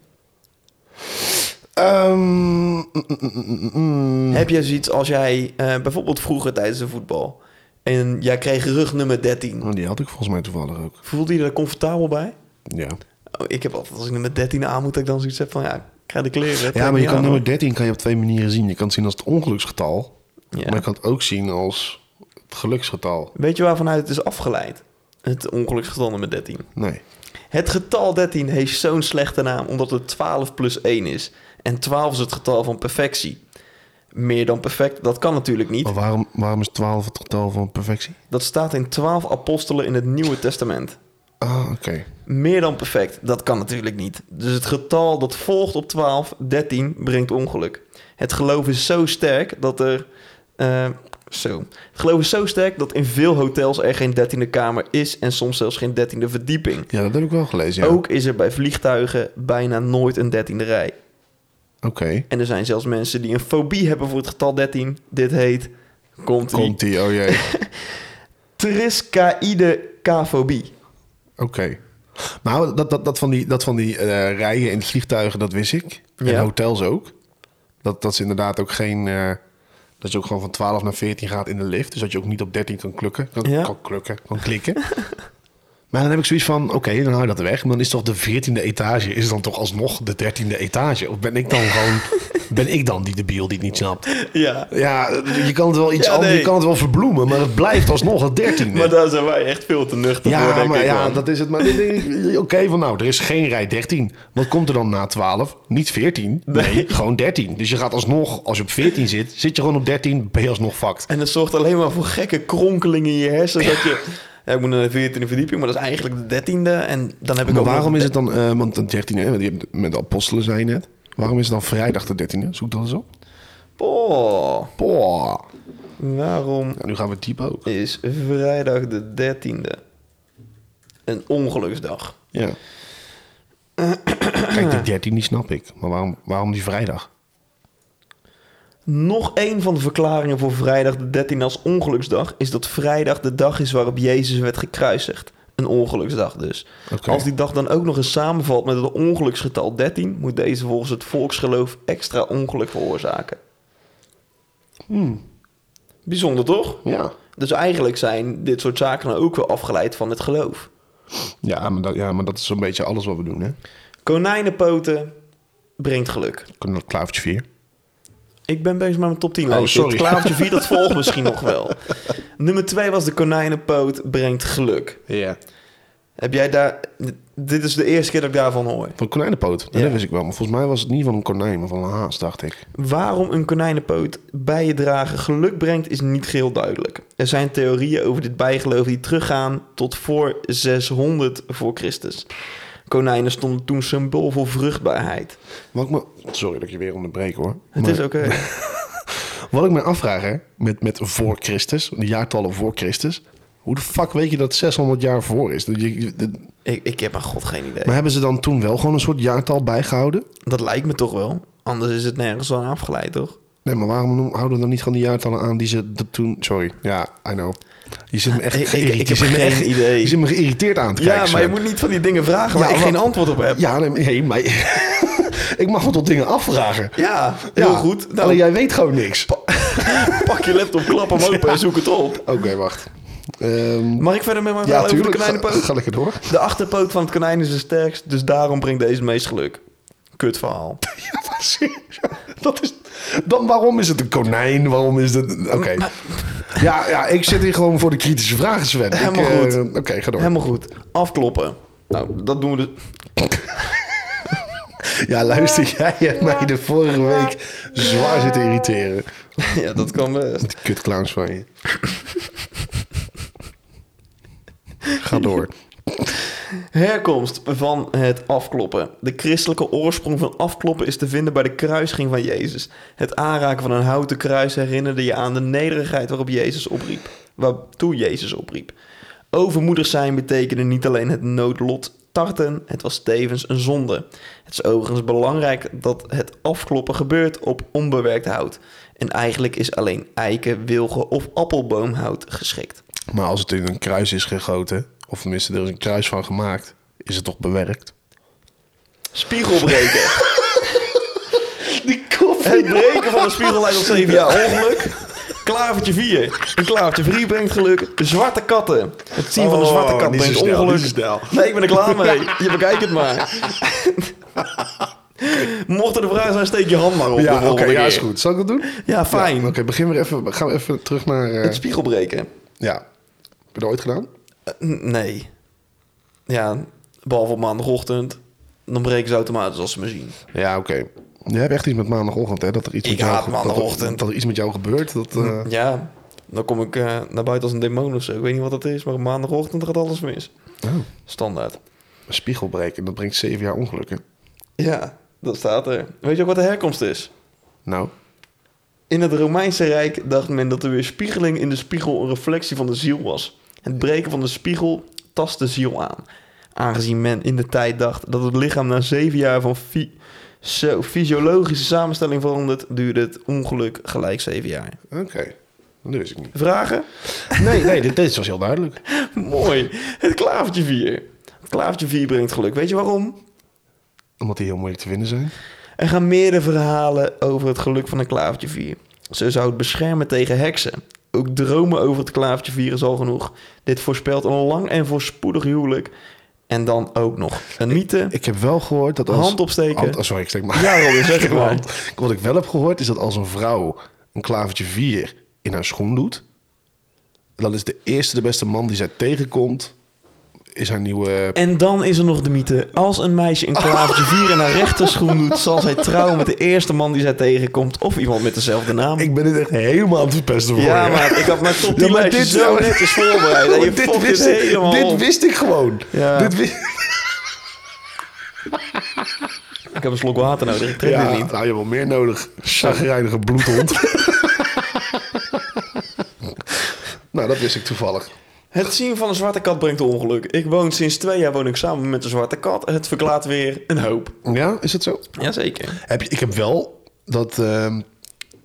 S1: Ehm, mm, mm, mm, mm, mm.
S2: Heb jij zoiets als jij eh, bijvoorbeeld vroeger tijdens de voetbal en jij kreeg rug nummer 13.
S1: Oh, Die had ik volgens mij toevallig ook.
S2: Voelde je er comfortabel bij?
S1: Ja.
S2: Oh, ik heb altijd als ik nummer 13 aan moet, dat ik dan zoiets heb van ja, ik ga de kleren. trek
S1: Ja, maar
S2: die
S1: je kan
S2: aan,
S1: nummer 13 kan je op twee manieren zien. Je kan het zien als het ongeluksgetal.
S2: hoor. Ja.
S1: Maar je kan het ook zien als het geluksgetal.
S2: Weet je waarvanuit het is afgeleid? Het ongeluksgetal nummer 13.
S1: Nee.
S2: Het getal 13 heeft zo'n slechte naam omdat het 12 plus 1 is. En 12 is het getal van perfectie. Meer dan perfect, dat kan natuurlijk niet.
S1: Maar waarom, waarom is 12 het getal van perfectie?
S2: Dat staat in 12 apostelen in het Nieuwe Testament.
S1: Ah, oké.
S2: Meer dan perfect, dat kan natuurlijk niet. Dus het getal dat volgt op 12, 13, brengt ongeluk. Het geloof is zo sterk dat er. eh, zo. Het geloof is zo sterk dat in veel hotels er geen 13e kamer is en soms zelfs geen 13e verdieping.
S1: Ja, dat heb ik wel gelezen. Ja.
S2: Ook is er bij vliegtuigen bijna nooit een 13e rij.
S1: Oké.
S2: En er zijn zelfs mensen die een fobie hebben voor het getal 13. Dit heet, komt ie,
S1: Komt die? Oh jee.
S2: triskaïde K-fobie.
S1: Oké. Nou, dat, dat, dat van die, dat van die eh, rijen in vliegtuigen, dat wist ik. En
S2: Ja.
S1: hotels ook. Dat, dat is inderdaad ook geen... eh, dat je ook gewoon van 12 naar 14 gaat in de lift. Dus dat je ook niet op 13 kan klukken. Kan,
S2: Ja.
S1: kan klukken, kan klikken. maar dan heb ik zoiets van, oké, dan hou je dat weg. Maar dan is toch de 14e etage, is dan toch alsnog de 13e etage? Of ben ik dan gewoon... ben ik dan die debiel die het niet snapt?
S2: Ja,
S1: Ja, je kan het wel iets
S2: Ja,
S1: anders...
S2: nee.
S1: Je kan het wel verbloemen, maar het blijft alsnog het 13e.
S2: maar daar zijn wij echt veel te nuchter voor,
S1: Ja,
S2: denk
S1: maar
S2: ik.
S1: ja,
S2: man.
S1: dat is het. Maar dan denk ik, oké, van nou, er is geen rij 13. Wat komt er dan na 12? Niet 14. Nee, gewoon 13. Dus je gaat alsnog, als je op 14 zit, zit je gewoon op 13, ben je alsnog fucked.
S2: En dat zorgt alleen maar voor gekke kronkelingen in je hersenen. Dat je, ja, ik moet naar de 14e verdieping, maar dat is eigenlijk de 13e. En dan heb ik
S1: Maar
S2: ook
S1: waarom
S2: nog-
S1: is het dan, eh, want de 13 hè, want je hebt met de apostelen zei je net. Waarom is het dan vrijdag de 13e? Zoek dat eens op.
S2: Oh,
S1: Boah.
S2: waarom
S1: Nou, nu gaan we diep ook.
S2: is vrijdag de 13e een ongeluksdag?
S1: Ja. Kijk, die 13 die snap ik. Maar waarom, waarom die vrijdag?
S2: Nog een van de verklaringen voor vrijdag de 13e als ongeluksdag is dat vrijdag de dag is waarop Jezus werd gekruisigd. Een ongeluksdag dus.
S1: Oké.
S2: Als die dag dan ook nog eens samenvalt met het ongeluksgetal 13, moet deze volgens het volksgeloof extra ongeluk veroorzaken. Bijzonder toch?
S1: Hmm. Ja.
S2: Dus eigenlijk zijn dit soort zaken dan ook weer afgeleid van het geloof.
S1: Ja, maar dat, ja, maar dat is zo'n beetje alles wat we doen, hè?
S2: Konijnenpoten brengt geluk.
S1: Klavertje 4.
S2: Ik ben bezig met mijn top 10
S1: Oh,
S2: lijstje.
S1: sorry.
S2: Het klavertje 4, dat volgt misschien nog wel. Nummer 2 was de konijnenpoot brengt geluk.
S1: Ja.
S2: Heb jij daar... Dit is de eerste keer dat ik daarvan hoor.
S1: Van konijnenpoot.
S2: Ja.
S1: Dat wist ik wel. Maar volgens mij was het niet van een konijn, maar van een haas, dacht ik.
S2: Waarom een konijnenpoot bij je dragen geluk brengt, is niet geheel duidelijk. Er zijn theorieën over dit bijgeloof die teruggaan tot voor 600 voor Christus. Konijnen stonden toen symbool voor vruchtbaarheid.
S1: Wat ik me... Sorry dat ik je weer onderbreek hoor.
S2: Het
S1: Maar
S2: is eh, oké.
S1: Wat ik me afvraag hè, met, met voor Christus, de jaartallen voor Christus. Hoe de fuck weet je dat 600 jaar voor is? Dat je- je- dat-
S2: ik, ik heb aan god geen idee.
S1: Maar hebben ze dan toen wel gewoon een soort jaartal bijgehouden?
S2: Dat lijkt me toch wel. Anders is het nergens aan afgeleid, toch?
S1: Nee, maar waarom noem- houden we dan niet gewoon die jaartallen aan die ze dat toen... Sorry, ja, I know. Je zit me echt,
S2: Ik- ik-
S1: geïrriteerd-
S2: ik
S1: je
S2: heb
S1: zit me
S2: geen
S1: echt-
S2: idee.
S1: Je zit me geïrriteerd aan te kijken.
S2: ja, maar je
S1: Sven.
S2: moet niet van die dingen vragen waar
S1: Ja,
S2: ik geen
S1: wat-
S2: antwoord op heb. Ja,
S1: Ja, nee, maar- nee, maar... ik mag wel tot dingen afvragen.
S2: heel
S1: Ja,
S2: goed. Nou,
S1: Alleen jij weet gewoon niks.
S2: pak je laptop, klap hem open en zoek het op.
S1: Oké, wacht. Ehm,
S2: Mag ik verder met mijn
S1: ja,
S2: verhaal over de
S1: tuurlijk. Ga,
S2: konijnenpoot?
S1: ga lekker door.
S2: De achterpoot van het konijn is het sterkst, dus daarom brengt deze het meest geluk. Kut verhaal.
S1: Ja, maar serieus. Dat is, dan waarom is het een konijn? Waarom is het... Oké. Ja, ja, ik zit hier gewoon voor de kritische vragen, Sven. Ik,
S2: Helemaal
S1: eh,
S2: goed.
S1: Oké, ga door.
S2: Helemaal goed. Afkloppen. Nou, dat doen we dus.
S1: Ja, luister, jij hebt mij de vorige week zwaar zitten irriteren.
S2: ja, dat kan best.
S1: Die kutclowns van je. Ga door.
S2: Herkomst van het afkloppen. De christelijke oorsprong van afkloppen is te vinden bij de kruising van Jezus. Het aanraken van een houten kruis herinnerde je aan de nederigheid waarop Jezus opriep. Waartoe Jezus opriep. Overmoedig zijn betekende niet alleen het noodlot tarten, het was tevens een zonde. Het is overigens belangrijk dat het afkloppen gebeurt op onbewerkt hout. En eigenlijk is alleen eiken, wilgen of appelboomhout geschikt.
S1: Maar als het in een kruis is gegoten, of tenminste er is een kruis van gemaakt, is het toch bewerkt?
S2: Spiegelbreken.
S1: Die koffie.
S2: Het breken van de spiegel leidt tot zeven jaar ongeluk. Klavertje 4. Een klavertje 3 brengt geluk. De zwarte katten. Het zien van de
S1: Oh,
S2: zwarte kat
S1: niet
S2: brengt
S1: zo snel,
S2: ongeluk.
S1: niet zo snel.
S2: Nee, ik ben er klaar mee. Je bekijkt het maar. Mocht er de vraag zijn, steek je hand maar op. de
S1: Ja, oké,
S2: volgende
S1: ja,
S2: keer.
S1: is goed. Zal ik dat doen?
S2: Ja, fijn.
S1: Ja, oké, begin weer even. Gaan we even terug naar. eh,
S2: Het spiegelbreken.
S1: ja. Heb je dat ooit gedaan?
S2: Eh, n- nee. Ja, behalve op maandagochtend. Dan breken ze automatisch als ze me zien.
S1: Ja, oké. Je hebt echt iets met maandagochtend, hè? Dat er iets
S2: Ik
S1: met jou
S2: haat
S1: ge- dat er-
S2: maandagochtend. Mm.
S1: Dat, er iets met jou gebeurt. Dat, eh,
S2: Ja, dan kom ik eh, naar buiten als een demon of zo. Ik weet niet wat dat is, maar op maandagochtend gaat alles mis.
S1: oh,
S2: Standaard.
S1: een spiegel breken, dat brengt zeven jaar ongelukken.
S2: Ja, dat staat er. Weet je ook wat de herkomst is?
S1: Nou,
S2: In het Romeinse Rijk dacht men dat de weerspiegeling in de spiegel een reflectie van de ziel was. Het breken van de spiegel tast de ziel aan. Aangezien men in de tijd dacht dat het lichaam na zeven jaar van fi- zo, fysiologische samenstelling verandert, duurde het ongeluk gelijk zeven jaar.
S1: oké. Dat wist ik niet.
S2: Vragen?
S1: Nee, nee, dit, dit was heel duidelijk.
S2: Mooi. Het klavertje 4. Het klavertje 4 brengt geluk. Weet je waarom?
S1: Omdat die heel moeilijk te vinden zijn.
S2: Er gaan meerdere verhalen over het geluk van een klavertje 4. Ze zou het beschermen tegen heksen. Ook dromen over het klavertje 4 is al genoeg. Dit voorspelt een lang en voorspoedig huwelijk. En dan ook nog een mythe.
S1: Ik heb wel gehoord dat als...
S2: Hand opsteken.
S1: Hand- oh, sorry, ik steek maar.
S2: Ja, Robin, zeg
S1: Ik heb
S2: maar.
S1: hand. Wat ik wel heb gehoord is dat als een vrouw een klavertje vier in haar schoen doet... dan is de eerste de beste man die zij tegenkomt... is haar nieuwe...
S2: En dan is er nog de mythe. Als een meisje een klavertje 4 in haar rechterschoen doet... zal zij trouwen met de eerste man die zij tegenkomt... of iemand met dezelfde naam.
S1: Ik ben dit echt helemaal aan het verpesten voor
S2: ja,
S1: je.
S2: maar ik had mijn top
S1: Ja,
S2: 10
S1: maar
S2: lijstje
S1: dit
S2: zo
S1: zou-
S2: netjes voorbereid. En je
S1: dit,
S2: fokt
S1: wist
S2: dit
S1: ik,
S2: helemaal
S1: dit
S2: op.
S1: wist ik gewoon.
S2: Ja.
S1: Dit wist,
S2: Ik heb een slok water nodig, ik trek dit
S1: ja,
S2: niet.
S1: nou, je hebt wel meer nodig. Chagrijnige bloedhond. nou, dat wist ik toevallig.
S2: Het zien van een zwarte kat brengt ongeluk. Ik woon sinds twee jaar woon ik samen met een zwarte kat. Het verklaart weer een hoop.
S1: Ja, is dat zo?
S2: Jazeker.
S1: Heb je, ik heb wel dat ehm,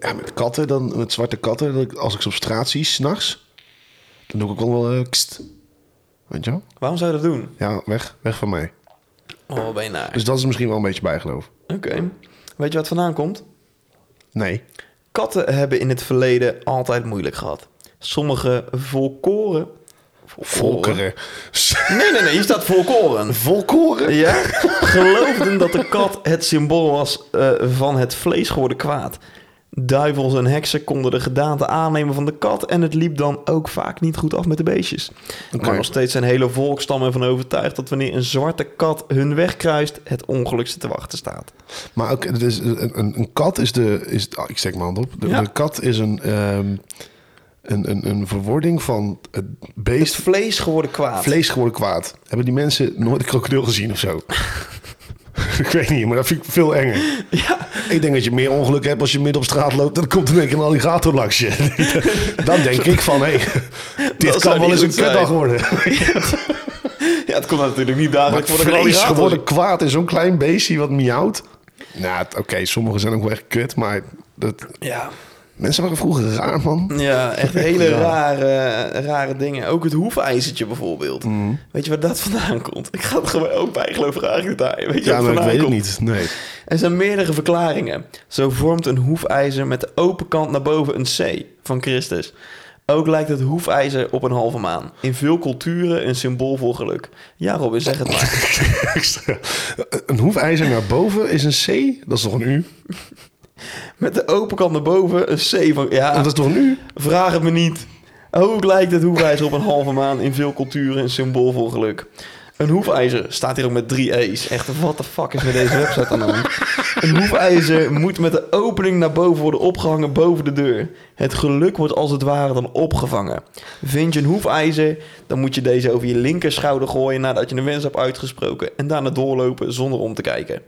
S1: ja, met katten, dan, met zwarte katten, dat ik, als ik ze op straat zie, s'nachts, dan doe ik ook wel eh, kst. Weet je wel?
S2: Waarom zou je dat doen?
S1: Ja, weg, weg van mij.
S2: Oh, ben je naar.
S1: Dus dat is misschien wel een beetje bijgeloof.
S2: Oké. Weet je wat het vandaan komt?
S1: Nee.
S2: Katten hebben in het verleden altijd moeilijk gehad. Sommige volkoren...
S1: Volkeren.
S2: Nee, nee, nee. Hier staat volkoren.
S1: Volkoren?
S2: Ja? Geloofden dat de kat het symbool was eh, van het vlees geworden kwaad. Duivels en heksen konden de gedaante aannemen van de kat en het liep dan ook vaak niet goed af met de beestjes.
S1: Oké.
S2: Maar nog steeds zijn hele volkstammen ervan overtuigd dat wanneer een zwarte kat hun weg kruist, het ongeluk ze te wachten staat.
S1: Maar ook, het is een, een, een kat is de... Is, ah, ik steek mijn hand op. De,
S2: Ja.
S1: de kat is een, ehm, een, een, een verwording van het beest...
S2: Het vlees geworden kwaad.
S1: Vlees geworden kwaad. Hebben die mensen nooit een krokodil gezien of zo? ik weet niet, maar dat vind ik veel enger.
S2: Ja,
S1: Ik denk dat je meer ongeluk hebt als je midden op straat loopt. Dan komt in één keer een alligator langs je. Dan denk ik van, hé, dit
S2: zou
S1: kan wel
S2: niet
S1: eens een
S2: goed zijn.
S1: kutdag worden.
S2: ja het komt natuurlijk niet dagelijks voor de
S1: Vlees
S2: alligator.
S1: geworden kwaad in zo'n klein beestje wat miauwt. Nou, t- oké, sommigen zijn ook wel echt kut, maar dat,
S2: Ja,
S1: mensen waren vroeger raar, man.
S2: Ja, echt hele
S1: Ja.
S2: Rare, rare dingen. Ook het hoefijzertje bijvoorbeeld.
S1: Mhm.
S2: Weet je waar dat vandaan komt? Ik ga het gewoon ook bijgeloof eigenlijk daar. Weet
S1: Ja,
S2: je waar
S1: maar ik
S2: vandaan
S1: weet het niet.
S2: komt?
S1: Nee.
S2: Er zijn meerdere verklaringen. Zo vormt een hoefijzer met de open kant naar boven een C van Christus. Ook lijkt het hoefijzer op een halve maan. In veel culturen een symbool voor geluk. Ja, Robin, zeg het maar.
S1: een hoefijzer naar boven is een C. Dat is toch een U?
S2: Met de open kant naar boven een C van... Ja,
S1: Dat is toch een U?
S2: Vraag het me niet. Ook lijkt het hoefijzer op een halve maan in veel culturen een symbool voor geluk. Een hoefijzer staat hier ook met drie E's. Echt, wat de fuck is met deze website aan de hand? Een hoefijzer moet met de opening naar boven worden opgehangen boven de deur. Het geluk wordt als het ware dan opgevangen. Vind je een hoefijzer, dan moet je deze over je linkerschouder gooien nadat je een wens hebt uitgesproken. En daarna doorlopen zonder om te kijken.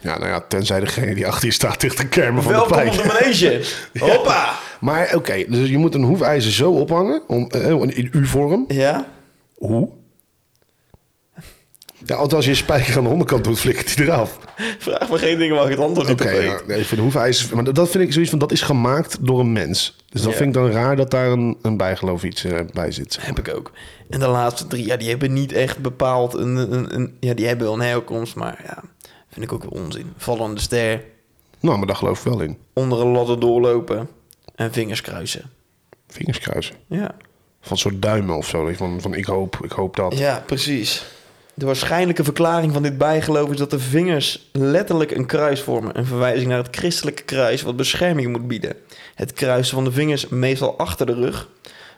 S1: Ja, nou ja, tenzij degene die achter je staat tegen de kermen van de
S2: Welkom
S1: pijk.
S2: op de manege. Hoppa!
S1: Maar oké, dus je moet een hoefijzer zo ophangen, om, eh, in U-vorm.
S2: Ja?
S1: Hoe? Ja, want als je een spijker aan de onderkant doet, flikkert hij eraf.
S2: Vraag me geen dingen waar ik het antwoord niet
S1: Oké,
S2: op weet.
S1: ja, nee, voor de hoefijzer... Maar dat- dat vind ik zoiets van, dat is gemaakt door een mens. Dus dat
S2: Ja.
S1: vind ik dan raar dat daar een, een bijgeloof iets eh, bij zit. zeg
S2: Heb ik ook. En de laatste drie, ja, die hebben niet echt bepaald een... een, een ja, die hebben wel een herkomst, maar ja, vind ik ook wel onzin. Vallende ster,
S1: Nou, maar daar geloof ik wel in.
S2: onder een ladder doorlopen en vingers kruisen.
S1: Vingers kruisen.
S2: Ja,
S1: Van een soort duimen of zo. weet je, Van, van ik hoop, ik hoop dat.
S2: ja precies. De waarschijnlijke verklaring van dit bijgeloof is dat de vingers letterlijk een kruis vormen. Een verwijzing naar het christelijke kruis wat bescherming moet bieden. Het kruisen van de vingers, meestal achter de rug,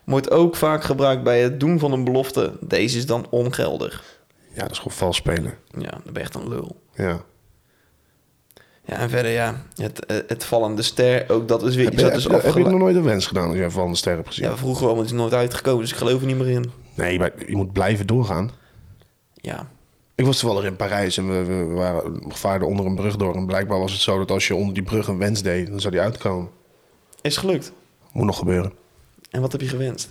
S2: wordt ook vaak gebruikt bij het doen van een belofte. Deze is dan ongeldig.
S1: Ja, dat is gewoon vals spelen.
S2: Ja, dan ben je echt een lul.
S1: Ja.
S2: Ja, en verder ja, het, eh, het vallende ster, ook dat is weer
S1: Heb
S2: iets
S1: je,
S2: dat
S1: heb
S2: is
S1: je- heb je
S2: afgeleid.
S1: nog nooit een wens gedaan als jij van de ster hebt gezien?
S2: Ja, vroeger al, maar het is nooit uitgekomen, dus ik geloof er niet meer in.
S1: Nee, maar je moet blijven doorgaan.
S2: Ja,
S1: Ik was toevallig in Parijs en we, we waren, we vaarden onder een brug door. En blijkbaar was het zo dat als je onder die brug een wens deed, dan zou die uitkomen.
S2: is gelukt.
S1: Moet nog gebeuren.
S2: En wat heb je gewenst?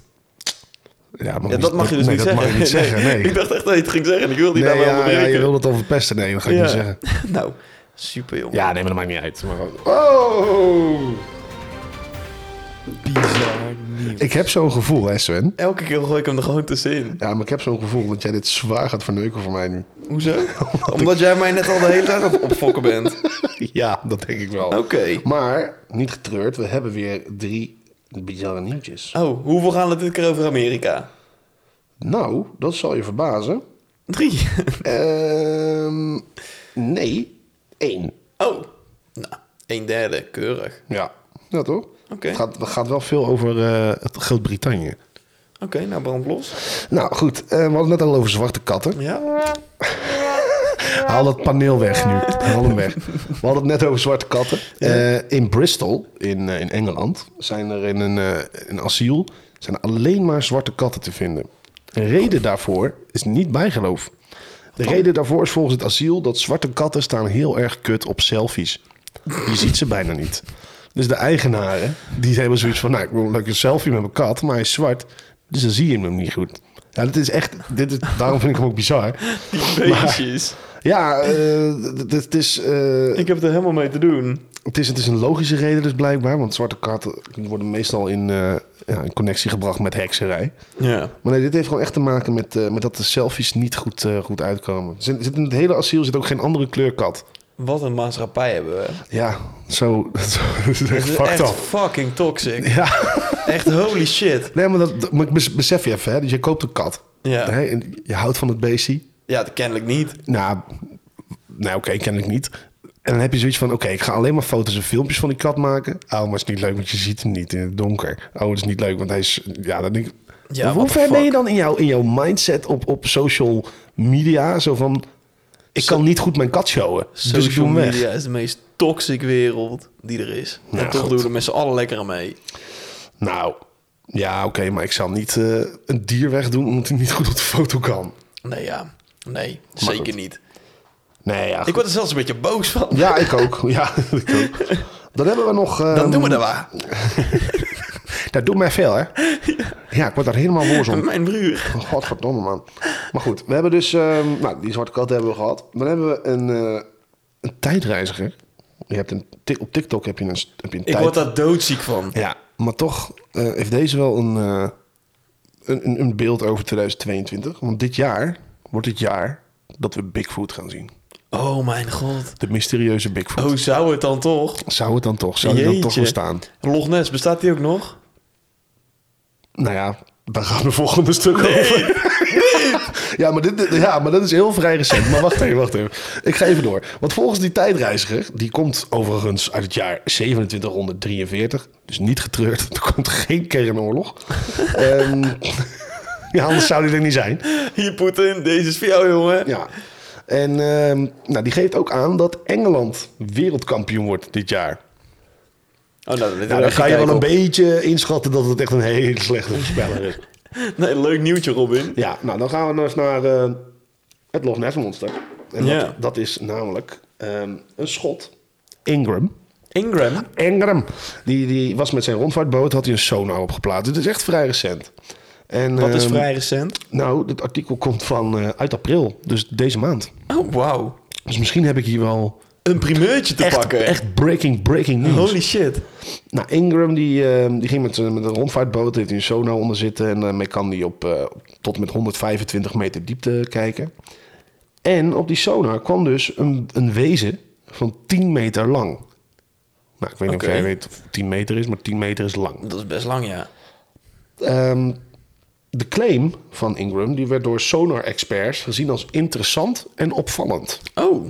S1: Ja, maar
S2: Ja, dat mag je dus
S1: nee,
S2: niet
S1: dat
S2: zeggen.
S1: Mag je niet zeggen. Nee,
S2: ik dacht echt dat je het ging zeggen. Ik wilde die
S1: nee,
S2: daar
S1: ja,
S2: wel
S1: ja,
S2: onderbreken.
S1: je wil het al verpesten. Nee, dat ga ik
S2: Ja.
S1: niet zeggen.
S2: Nou, super jongen.
S1: Ja, nee, maar dat maakt niet uit. Maar gewoon- Oh!
S2: Bizar nieuws.
S1: Ik heb zo'n gevoel, hè, Sven.
S2: Elke keer gooi ik hem er gewoon tussenin.
S1: Ja, maar ik heb zo'n gevoel dat jij dit zwaar gaat verneuken voor mij nu.
S2: Hoezo? Omdat jij mij net al de hele tijd aan het opfokken bent. Oké.
S1: Ja, dat denk ik wel. Maar, niet getreurd, we hebben weer drie bizarre nieuwtjes.
S2: Oh, hoeveel gaan het dit keer over Amerika?
S1: Nou, dat zal je verbazen.
S2: Drie.
S1: Ehm, nee, één.
S2: Oh. Nou, een derde. Keurig.
S1: Ja. Ja, toch?
S2: Oké.
S1: Het, gaat, het gaat wel veel over eh, het Groot-Brittannië.
S2: Oké, nou brand los.
S1: Nou, goed. eh, we hadden het net al over zwarte katten.
S2: Ja.
S1: Haal dat paneel weg nu. Haal hem weg. We hadden het net over zwarte katten. Eh, in Bristol, in, eh, in Engeland, zijn er in een, eh, een asiel zijn er alleen maar zwarte katten te vinden. De reden daarvoor is niet bijgeloof. De reden daarvoor is volgens het asiel dat zwarte katten staan heel erg kut op selfies. Je ziet ze bijna niet. Dus de eigenaren, die hebben zoiets van... Nou, ik wil een leuke selfie met mijn kat, maar hij is zwart. Dus dan zie je hem niet goed. Ja, dit is echt... Dit is, daarom vind ik hem ook bizar.
S2: Die beestjes.
S1: Ja, eh, d- d- het is, eh,
S2: Ik heb er helemaal mee te doen.
S1: het, is, het is een logische reden dus blijkbaar. Want zwarte katten worden meestal in, eh, ja, in connectie gebracht met hekserij.
S2: Ja.
S1: Maar nee, dit heeft gewoon echt te maken met, eh, met dat de selfies niet goed, eh, goed uitkomen. Er Zit, zit in het hele asiel zit ook geen andere kleurkat.
S2: Wat een maatschappij hebben we.
S1: Ja, zo, zo dat is echt
S2: Het is
S1: fucked
S2: echt
S1: up.
S2: fucking toxic.
S1: Ja,
S2: Echt holy shit.
S1: nee, maar, dat, dat- maar ik bes- besef je even, hè, dat je koopt een kat.
S2: Ja.
S1: Hè, en je houdt van het beestje.
S2: Ja, dat kennelijk niet.
S1: Nou, nou oké, kennelijk niet. En dan heb je zoiets van, oké, ik ga alleen maar foto's en filmpjes van die kat maken. Oh, maar het is niet leuk, want je ziet hem niet in het donker. Oh, het is niet leuk, want hij is... Ja, dan denk ik...
S2: Ja,
S1: Maar hoe
S2: what the
S1: ver ben je
S2: fuck?
S1: dan in jouw, in jouw mindset op, op social media? Zo van, ik kan niet goed mijn kat showen, dus ik doe
S2: Social
S1: hem weg.
S2: media is de meest toxic wereld die er is.
S1: Ja,
S2: en toch
S1: goed.
S2: doen we er met z'n allen lekker aan mee.
S1: Nou, ja, oké, maar ik zal niet eh, een dier wegdoen omdat hij niet goed op de foto kan.
S2: Nee, ja. Nee, zeker
S1: goed. Ehm,
S2: niet.
S1: Nee, ja.
S2: Ik word er zelfs een beetje boos van.
S1: Ja, ik ook. Ja, ik ook. Dan hebben we nog...
S2: Dan
S1: ehm,
S2: doen we dat waar.
S1: Dat doet mij veel, hè? Ja, ik word daar helemaal woos om. Oh,
S2: Mijn broer.
S1: Godverdomme, man. Maar goed, we hebben dus... ehm, nou, die zwarte kat hebben we gehad. Dan hebben we een, eh, een tijdreiziger. Je hebt een, tik- op TikTok heb je een, heb je een
S2: Ik
S1: tijd...
S2: word daar doodziek van.
S1: Ja, maar toch eh, heeft deze wel een, eh, een, een, een beeld over 2022. Want dit jaar wordt het jaar dat we Bigfoot gaan zien.
S2: Oh mijn god.
S1: De mysterieuze Bigfoot.
S2: Oh, zou het dan toch?
S1: Zou het dan toch? Zou die dan toch
S2: Jeetje.
S1: bestaan?
S2: Loch Ness, bestaat die ook nog?
S1: Nou ja, daar gaat mijn volgende stuk over. ja, maar dit, dit- ja, maar dat is heel vrij recent. Maar wacht even, wacht even. Ik ga even door. Want volgens die tijdreiziger, die komt overigens uit het jaar 2743. Dus niet getreurd, er komt geen kernoorlog. Ehm, Ja, anders zou die er niet zijn.
S2: Hier, Poetin, deze is voor jou, jongen.
S1: Ja. En ehm, nou, die geeft ook aan dat Engeland wereldkampioen wordt dit jaar.
S2: Oh, nou,
S1: Nou, dan kan je wel een beetje inschatten dat het echt een hele slechte voorspeller is.
S2: Nee, leuk nieuwtje, Robin.
S1: Ja, nou dan gaan we dus naar eh, het Loch Ness Monster. En
S2: Ja.
S1: dat, dat is namelijk ehm, een schot. Ingram.
S2: Ingram.
S1: Ingram. Die, die was met zijn rondvaartboot, had hij een sonar opgeplaatst. Het is echt vrij recent. En,
S2: Wat is
S1: ehm,
S2: vrij recent.
S1: Nou, het artikel komt van eh, uit april, dus deze maand.
S2: Oh, wauw.
S1: Dus misschien heb ik hier wel
S2: Een primeurtje te
S1: echt,
S2: pakken.
S1: echt breaking, breaking news.
S2: Holy shit.
S1: Nou, Ingram die, ehm, die ging met, zijn- met een rondvaartboot, heeft hij een sonar onder zitten. En daarmee kan die op eh, tot en met 125 meter diepte kijken. En op die sonar kwam dus een, een wezen van 10 meter lang. Nou, ik weet niet
S2: Oké.
S1: of jij weet of 10 meter is, maar 10 meter is lang.
S2: Dat is best lang, ja.
S1: Ehm, de claim van Ingram die werd door sonar-experts gezien als interessant en opvallend.
S2: Oh,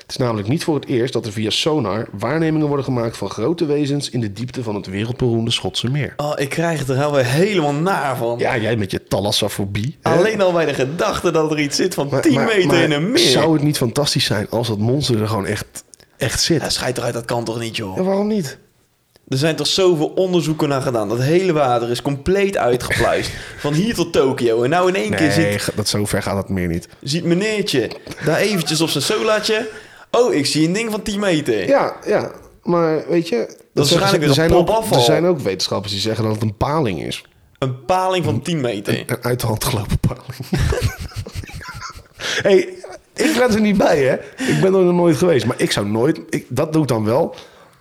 S1: Het is namelijk niet voor het eerst dat er via sonar waarnemingen worden gemaakt van grote wezens in de diepte van het wereldberoemde Schotse meer.
S2: oh ik krijg het er alweer helemaal naar van.
S1: Ja, jij met je thalassafobie. hè?
S2: Alleen al bij de gedachte dat er iets zit van
S1: Maar-
S2: 10
S1: maar-
S2: meter
S1: maar
S2: in een meer.
S1: Zou het niet fantastisch zijn als dat monster er gewoon echt, echt zit?
S2: Ja, schijt eruit, dat kan toch niet, joh.
S1: Ja, waarom niet?
S2: Er zijn toch zoveel onderzoeken naar gedaan. Dat hele water is compleet uitgepluist. van hier tot Tokio. En nou in één keer
S1: Nee,
S2: ziet,
S1: ga- dat zover gaat dat meer niet.
S2: ziet meneertje daar eventjes op zijn solaatje. Oh, ik zie een ding van 10 meter.
S1: Ja, ja. Maar weet je...
S2: Dat is
S1: zeggen-
S2: waarschijnlijk weer
S1: er
S2: een
S1: zijn, ook,
S2: popafval.
S1: er zijn ook wetenschappers die zeggen dat het een paling is.
S2: Een paling van 10 meter.
S1: Een uit de hand gelopen paling. hey, ik ben er niet bij, hè? Ik ben er nog nooit geweest. Maar ik zou nooit... Ik, dat doe ik dan wel.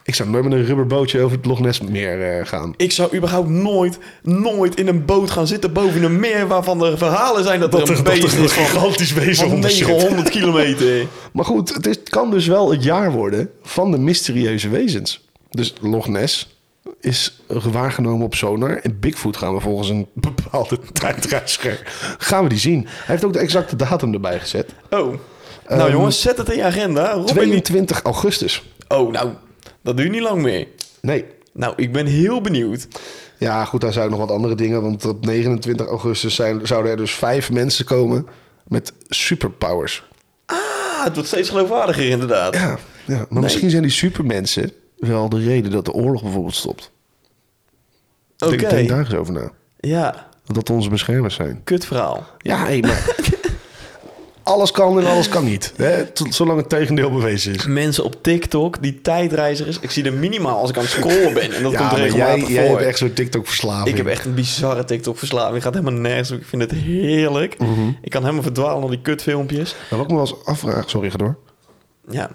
S1: Ik zou nooit met een rubberbootje over het Loch Ness meer eh, gaan.
S2: Ik zou überhaupt nooit, nooit in een boot gaan zitten boven een meer... waarvan er verhalen zijn dat, er een beest is van,
S1: gigantisch wezen
S2: van 900 kilometer.
S1: Maar goed, het, is- het kan dus wel het jaar worden van de mysterieuze wezens. Dus Loch Ness is waargenomen op sonar. En Bigfoot gaan we volgens een bepaalde tijdreiziger... gaan we die zien. Hij heeft ook de exacte datum erbij gezet.
S2: Oh, nou
S1: Ehm,
S2: jongens, zet het in je agenda. Robin, niet.
S1: 22 augustus.
S2: Oh, nou, dat duurt niet lang meer.
S1: Nee.
S2: Nou, ik ben heel benieuwd.
S1: Ja, goed, daar zijn nog wat andere dingen. Want op 29 augustus zijn, zouden er dus vijf mensen komen met superpowers.
S2: Ah, het wordt steeds geloofwaardiger inderdaad.
S1: Ja, ja maar misschien zijn die supermensen wel de reden dat de oorlog bijvoorbeeld stopt.
S2: Oké.
S1: Denk, denk daar eens over na.
S2: Ja,
S1: Dat onze beschermers zijn.
S2: kut verhaal.
S1: Ja, hé, maar... alles kan en alles kan niet. Hè? Tot- Zolang het tegendeel bewezen is.
S2: Mensen op TikTok, die tijdreizigers. Ik zie er minimaal als ik aan het scrollen ben. En dat komt
S1: maar
S2: regelmatig
S1: jij,
S2: voor.
S1: jij hebt echt zo'n TikTok-verslaving.
S2: Ik heb echt een bizarre TikTok-verslaving. Het gaat helemaal nergens over. Ik vind het heerlijk. Ik kan helemaal verdwalen naar die kutfilmpjes.
S1: Maar wat ik me wel eens afvraag... Sorry, ga door.
S2: Ja.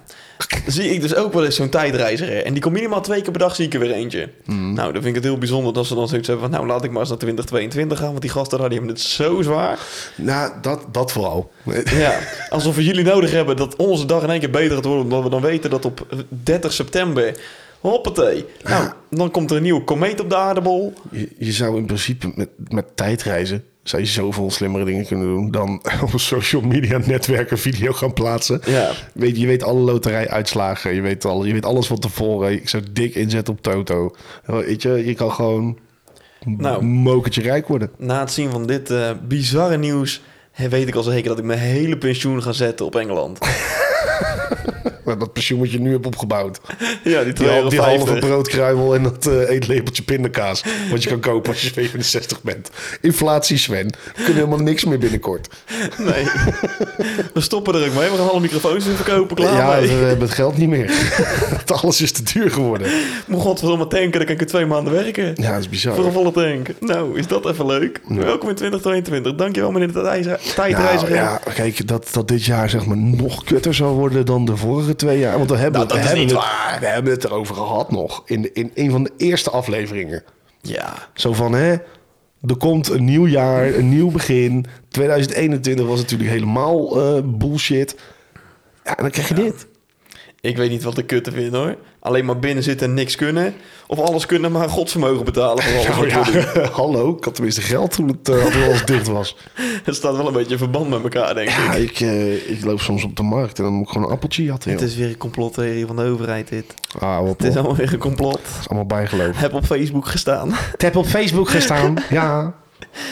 S2: zie ik dus ook wel eens zo'n tijdreiziger. En die komt minimaal twee keer per dag zie ik er weer eentje. Nou, dan vind ik het heel bijzonder dat ze dan zoiets hebben van... nou, laat ik maar eens naar 2022 gaan, want die gasten daar, die hebben het zo zwaar.
S1: Nou, dat, dat vooral.
S2: Ja, alsof we jullie nodig hebben dat onze dag in één keer beter gaat worden... omdat we dan weten dat op 30 september... Hoppatee. Nou, dan komt er een nieuwe komeet op de aardebol.
S1: Je, je zou in principe met, met tijdreizen zou je zoveel slimmere dingen kunnen doen dan op een social media netwerk een video gaan plaatsen.
S2: Ja.
S1: Weet, je je weet alle loterijuitslagen, je weet, al, je weet alles van tevoren. Ik zou dik inzetten op Toto. Weet je, je kan gewoon
S2: Nou.
S1: nou. mokertje rijk worden.
S2: Na het zien van dit eh, bizarre nieuws... hè, weet ik al zeker dat ik mijn hele pensioen ga zetten op Engeland.
S1: Maar Dat pensioen wat je nu hebt opgebouwd.
S2: Ja, die 2,50
S1: Die,
S2: euro.
S1: die halve broodkruimel en dat eh, eetlepeltje pindakaas. Wat je kan kopen als je 67 bent. Inflatie, Sven. We kunnen helemaal niks meer binnenkort.
S2: Nee. We stoppen er ook mee. We gaan alle microfoons weer verkopen. Klaar
S1: ja,
S2: mee.
S1: we hebben het geld niet meer. Alles is te duur geworden.
S2: Moet godverdomme tanken. Dan kan ik er twee maanden werken.
S1: Ja, dat is bizar.
S2: Voor een volle tank. Nou, is dat even leuk. Welkom in 2022. Dankjewel meneer de tijdreiziger.
S1: Nou,
S2: tijdreiziger.
S1: ja, kijk, dat, dat dit jaar zeg maar nog kutter zou worden dan de vorige twee jaar. Want we hebben,
S2: Nou, dat
S1: we
S2: is
S1: hebben,
S2: niet
S1: het, we hebben het erover gehad nog. In, de- in een van de eerste afleveringen.
S2: Ja.
S1: Zo van, hè, er komt een nieuw jaar, een nieuw begin. 2021 was natuurlijk helemaal eh, bullshit. Ja, en dan krijg je dit.
S2: Ik weet niet wat de kutte vind hoor. Alleen maar binnen zitten en niks kunnen. Of alles kunnen, maar godsvermogen betalen voor alles
S1: Nou
S2: wat we doen.
S1: ja, hallo, ik had tenminste geld toen het eh, toen alles dicht was.
S2: Het staat wel een beetje in verband met elkaar, denk ik.
S1: Ja, ik, eh, ik loop soms op de markt en dan moet ik gewoon een appeltje jatten.
S2: Het
S1: joh.
S2: is weer een complottheorie van de overheid dit.
S1: Ah, wat
S2: Het is allemaal weer een complot.
S1: allemaal bijgeloof.
S2: Heb op Facebook gestaan.
S1: Heb op Facebook gestaan. ja.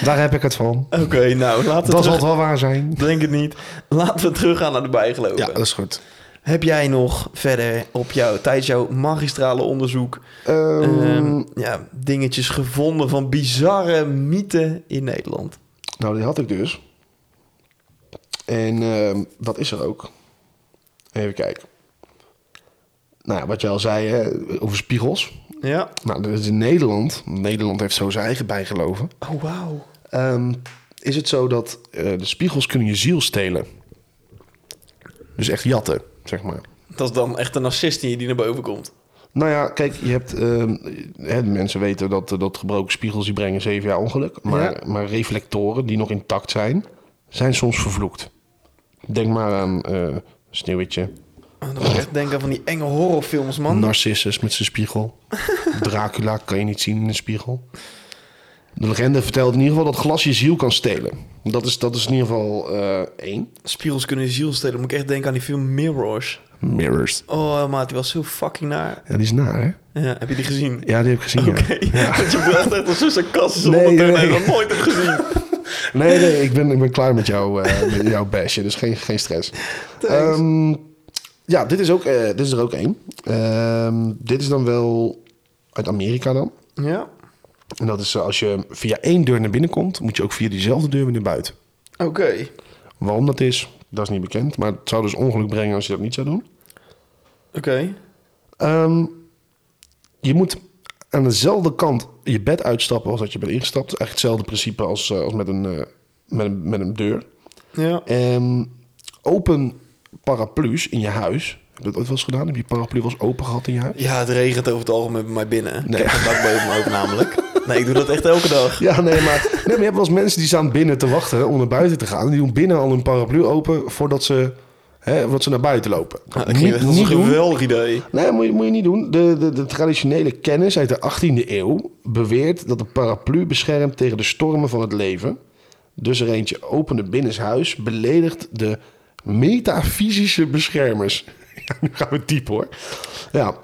S1: Daar heb ik het van.
S2: Oké, nou, laten we
S1: Dat zal
S2: terug...
S1: het wel waar zijn.
S2: Denk het niet. Laten we teruggaan naar de bijgeloven.
S1: Ja, dat is goed.
S2: Heb jij nog verder op jou, tijdens jouw magistrale onderzoek...
S1: Ehm,
S2: ehm, ja, dingetjes gevonden van bizarre mythen in Nederland?
S1: Nou, die had ik dus. En ehm, dat is er ook. Even kijken. Nou, ja, wat je al zei hè, over spiegels.
S2: Ja.
S1: Nou, dat is in Nederland. Nederland heeft zo zijn eigen bijgeloven.
S2: Oh, wauw.
S1: Ehm, is het zo dat eh, de spiegels kunnen je ziel stelen? Dus echt jatten, zeg maar.
S2: Dat is dan echt een narcist die die naar boven komt.
S1: Nou ja, kijk, je hebt, ehm, hè, de mensen weten dat, eh, dat gebroken spiegels die brengen zeven jaar ongeluk. Maar,
S2: Ja.
S1: maar reflectoren die nog intact zijn, zijn soms vervloekt. Denk maar aan eh Sneeuwwitje,
S2: Ah, Dan moet ik echt denken aan die enge horrorfilms, man.
S1: Narcissus met zijn spiegel. Dracula kan je niet zien in een spiegel. De legende vertelt in ieder geval dat glas je ziel kan stelen. Dat is, dat is in ieder geval eh, één.
S2: Spiegels kunnen je ziel stelen. Dan moet ik echt denken aan die film Mirrors.
S1: Mirrors.
S2: Oh, maat, die was zo fucking naar.
S1: Ja, die is naar, hè?
S2: Ja, heb je die gezien?
S1: Ja, die heb ik gezien.
S2: Oké,
S1: ja.
S2: want je bracht echt als zo'n sarcastische
S1: Nee,
S2: ondertoon
S1: nee.
S2: en dat nooit heb gezien.
S1: Nee, nee, ik ben, ik ben klaar met, jou, eh met jouw bashen, dus geen, geen stress.
S2: Thanks.
S1: Ehm, ja, dit is, ook, eh, dit is er ook één. Ehm, dit is dan wel uit Amerika dan.
S2: Ja,
S1: En dat is eh, als je via één deur naar binnen komt, moet je ook via diezelfde deur weer naar buiten.
S2: oké.
S1: Waarom dat is, dat is niet bekend. Maar het zou dus ongeluk brengen als je dat niet zou doen.
S2: Oké.
S1: Ehm, je moet aan dezelfde kant je bed uitstappen als dat je bent ingestapt. Echt hetzelfde principe als, eh, als met, een, eh, met, een, met een deur.
S2: Ja.
S1: Ehm, open paraplu's in je huis. Heb je dat ooit wel eens gedaan? Heb je paraplu wel eens open gehad in je huis?
S2: ja, het regent over het algemeen bij mij binnen.
S1: Nee.
S2: Ik heb geen dak boven me ook namelijk. Nee, ik doe dat echt elke dag.
S1: Ja, nee, maar, nee, maar je hebt wel eens mensen die staan binnen te wachten om naar buiten te gaan. En die doen binnen al hun paraplu open voordat ze, hè, voordat ze naar buiten lopen.
S2: Nou, dat klinkt echt als een
S1: doen.
S2: geweldig idee.
S1: Nee, moet je, moet je niet doen. De, de, de traditionele kennis uit de 18e eeuw beweert dat de paraplu beschermt tegen de stormen van het leven. Dus er eentje opende binnenshuis beledigt de metafysische beschermers. Ja, nu gaan we diep hoor. Ja.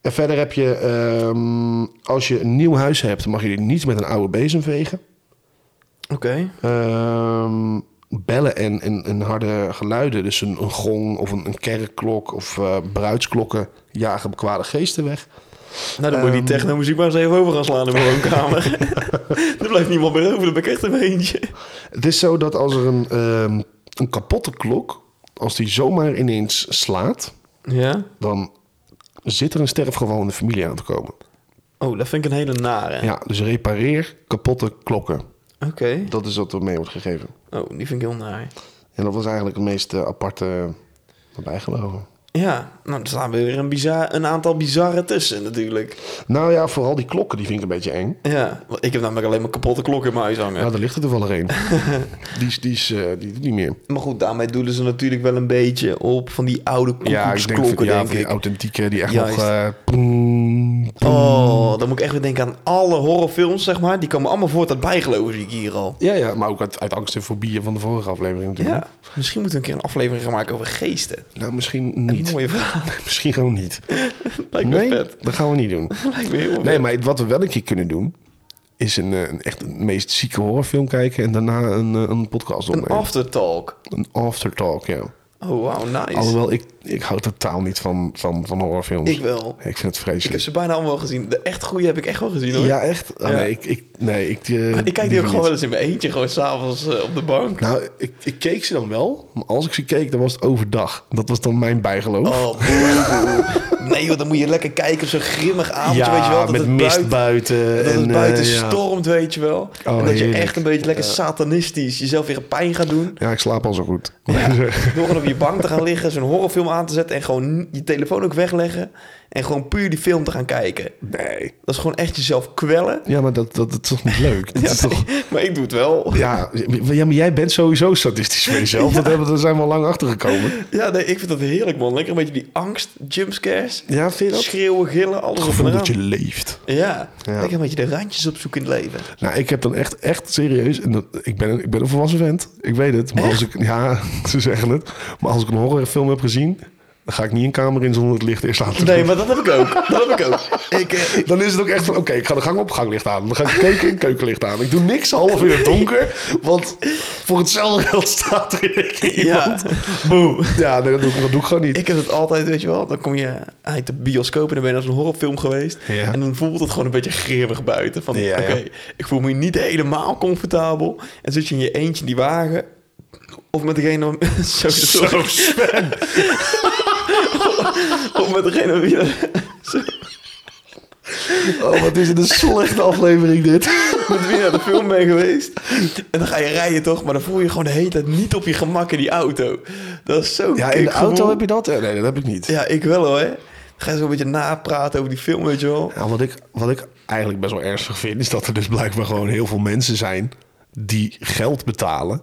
S1: En verder heb je, ehm, als je een nieuw huis hebt, mag je niets met een oude bezem vegen.
S2: Oké.
S1: Ehm, bellen en, en, en harde geluiden, dus een, een gong of een, een kerkklok of eh, bruidsklokken, jagen kwade geesten weg.
S2: Nou, dan moet je die techno-muziek maar eens even over gaan slaan in mijn woonkamer. er blijft niemand meer over, dan ben ik echt in mijn eentje.
S1: Het is zo dat als er een, ehm, een kapotte klok, als die zomaar ineens slaat,
S2: Ja?
S1: dan zit er een sterfgeval in de familie aan te komen.
S2: Oh, dat vind ik een hele nare.
S1: Ja, dus repareer kapotte klokken.
S2: Oké.
S1: Dat is wat er mee wordt gegeven.
S2: Oh, die vind ik heel naar.
S1: En dat was eigenlijk het meest eh, aparte bijgeloven.
S2: Ja, nou, er staan weer een, bizar, een aantal bizarre tussen natuurlijk.
S1: Nou ja, vooral die klokken, die vind ik een beetje eng.
S2: Ja, want ik heb namelijk alleen maar kapotte klokken in mijn huis hangen.
S1: Ja, daar ligt er toevallig een. die, is- die, is, eh, die doet niet meer.
S2: Maar goed, daarmee doelen ze natuurlijk wel een beetje op van die oude koekoeksklokken,
S1: ja,
S2: denk
S1: van die
S2: ik.
S1: authentieke, die echt
S2: Juist.
S1: nog... eh, ploem, ploem.
S2: Oh, dan moet ik echt weer denken aan alle horrorfilms, zeg maar. Die komen allemaal voort uit bijgeloven, zie ik hier al.
S1: Ja, ja, maar ook uit, uit angst en fobieën van de vorige aflevering natuurlijk.
S2: Ja, misschien moeten we een keer een aflevering gaan maken over geesten.
S1: Nou, misschien
S2: Een
S1: niet.
S2: mooie verhaal.
S1: Misschien gewoon niet.
S2: Lijkt me
S1: Nee,
S2: vet.
S1: dat gaan we niet doen.
S2: Lijkt me heel vet.
S1: Nee, maar wat we wel een keer kunnen doen... is een, eh, een echt een meest zieke horrorfilm kijken... en daarna een, eh, een podcast
S2: Een
S1: opnemen.
S2: aftertalk.
S1: Een aftertalk, ja.
S2: Oh, wow, nice.
S1: Alhoewel, ik, ik hou totaal niet van, van, van horrorfilms.
S2: Ik wel.
S1: Ik vind het
S2: Ik heb
S1: vreselijk.
S2: ze bijna allemaal gezien. De echt goede heb ik echt wel gezien, hoor.
S1: Ja, echt? Ah,
S2: Ja.
S1: Nee, ik... ik, nee, ik, eh,
S2: ik kijk die
S1: liever
S2: ook
S1: niet.
S2: gewoon wel eens in mijn eentje, gewoon s'avonds eh op de bank.
S1: Nou, ik, ik keek ze dan wel. Maar als ik ze keek, dan was het overdag. Dat was dan mijn bijgeloof.
S2: Oh, boe, boe. nee joh, dan moet je lekker kijken op zo'n grimmig avondje, weet je wel. Dat
S1: met
S2: het
S1: mist
S2: buiten,
S1: buiten.
S2: dat
S1: en,
S2: het
S1: eh,
S2: buiten
S1: ja. Oh,
S2: stormt, weet je wel. en dat je
S1: heerlijk.
S2: echt een beetje lekker satanistisch jezelf weer pijn gaat doen.
S1: Ja, ik slaap al zo goed.
S2: Door gewoon op je bank te gaan liggen, zo'n horrorfilm aan te zetten... en gewoon je telefoon ook wegleggen en gewoon puur die film te gaan kijken.
S1: nee.
S2: Dat is gewoon echt jezelf kwellen.
S1: Ja, maar dat, dat, dat is toch niet leuk? Dat
S2: Ja,
S1: is toch...
S2: Maar ik doe het wel.
S1: Ja, ja, maar jij bent sowieso statistisch voor jezelf. Dat hebben, daar zijn we al lang achter gekomen.
S2: Ja, nee, ik vind dat heerlijk, man. Lekker een beetje die angst, jumpscares,
S1: Ja, vind je dat?
S2: schreeuwen, gillen, alles
S1: Het
S2: op en
S1: gevoel dat
S2: eraan.
S1: je leeft.
S2: Ja,
S1: Ja.
S2: lekker een beetje de randjes opzoeken in het leven.
S1: Nou, ik heb dan echt, echt serieus. En dat, ik, ben, een- ik ben een volwassen vent. Ik weet het. Maar als ik, ja, ze zeggen het. Maar als ik een horrorfilm heb gezien, Dan ga ik niet een kamer in zonder het licht eerst aan te doen.
S2: Nee, maar dat heb ik ook. Dat heb ik ook. Ik, eh,
S1: Dan is het ook echt van, oké, ik ga de gang op, ganglicht aan. Dan ga ik de keuken in, keukenlicht aan. Ik doe niks half in het donker, want voor hetzelfde geld staat er in één keer
S2: ja,
S1: iemand. Ja, nee, dat, doe ik, dat doe ik gewoon niet.
S2: ik heb het altijd, weet je wel. Dan kom je uit de bioscoop en dan ben je naar zo'n horrorfilm geweest.
S1: Ja.
S2: En dan voelt het gewoon een beetje grimmig buiten. Van,
S1: Ja, ja.
S2: oké, ik voel me niet helemaal comfortabel. En zit je in je eentje in die wagen. Of met degene... Zo, sorry.
S1: Zo, Sven.
S2: Of met degene... wie je-
S1: Oh, wat is dit een slechte aflevering dit.
S2: met wie je naar de film bent geweest. En dan ga je rijden toch, maar dan voel je gewoon de hele tijd niet op je gemak in die auto. Dat is zo
S1: Ja, in de
S2: kickgevoel.
S1: auto heb je dat? Eh, Nee, dat heb ik niet.
S2: Ja, ik wel hoor. Dan Ga je zo een beetje napraten over die film, weet je wel.
S1: Ja, wat, ik, wat ik eigenlijk best wel ernstig vind, is dat er dus blijkbaar gewoon heel veel mensen zijn die geld betalen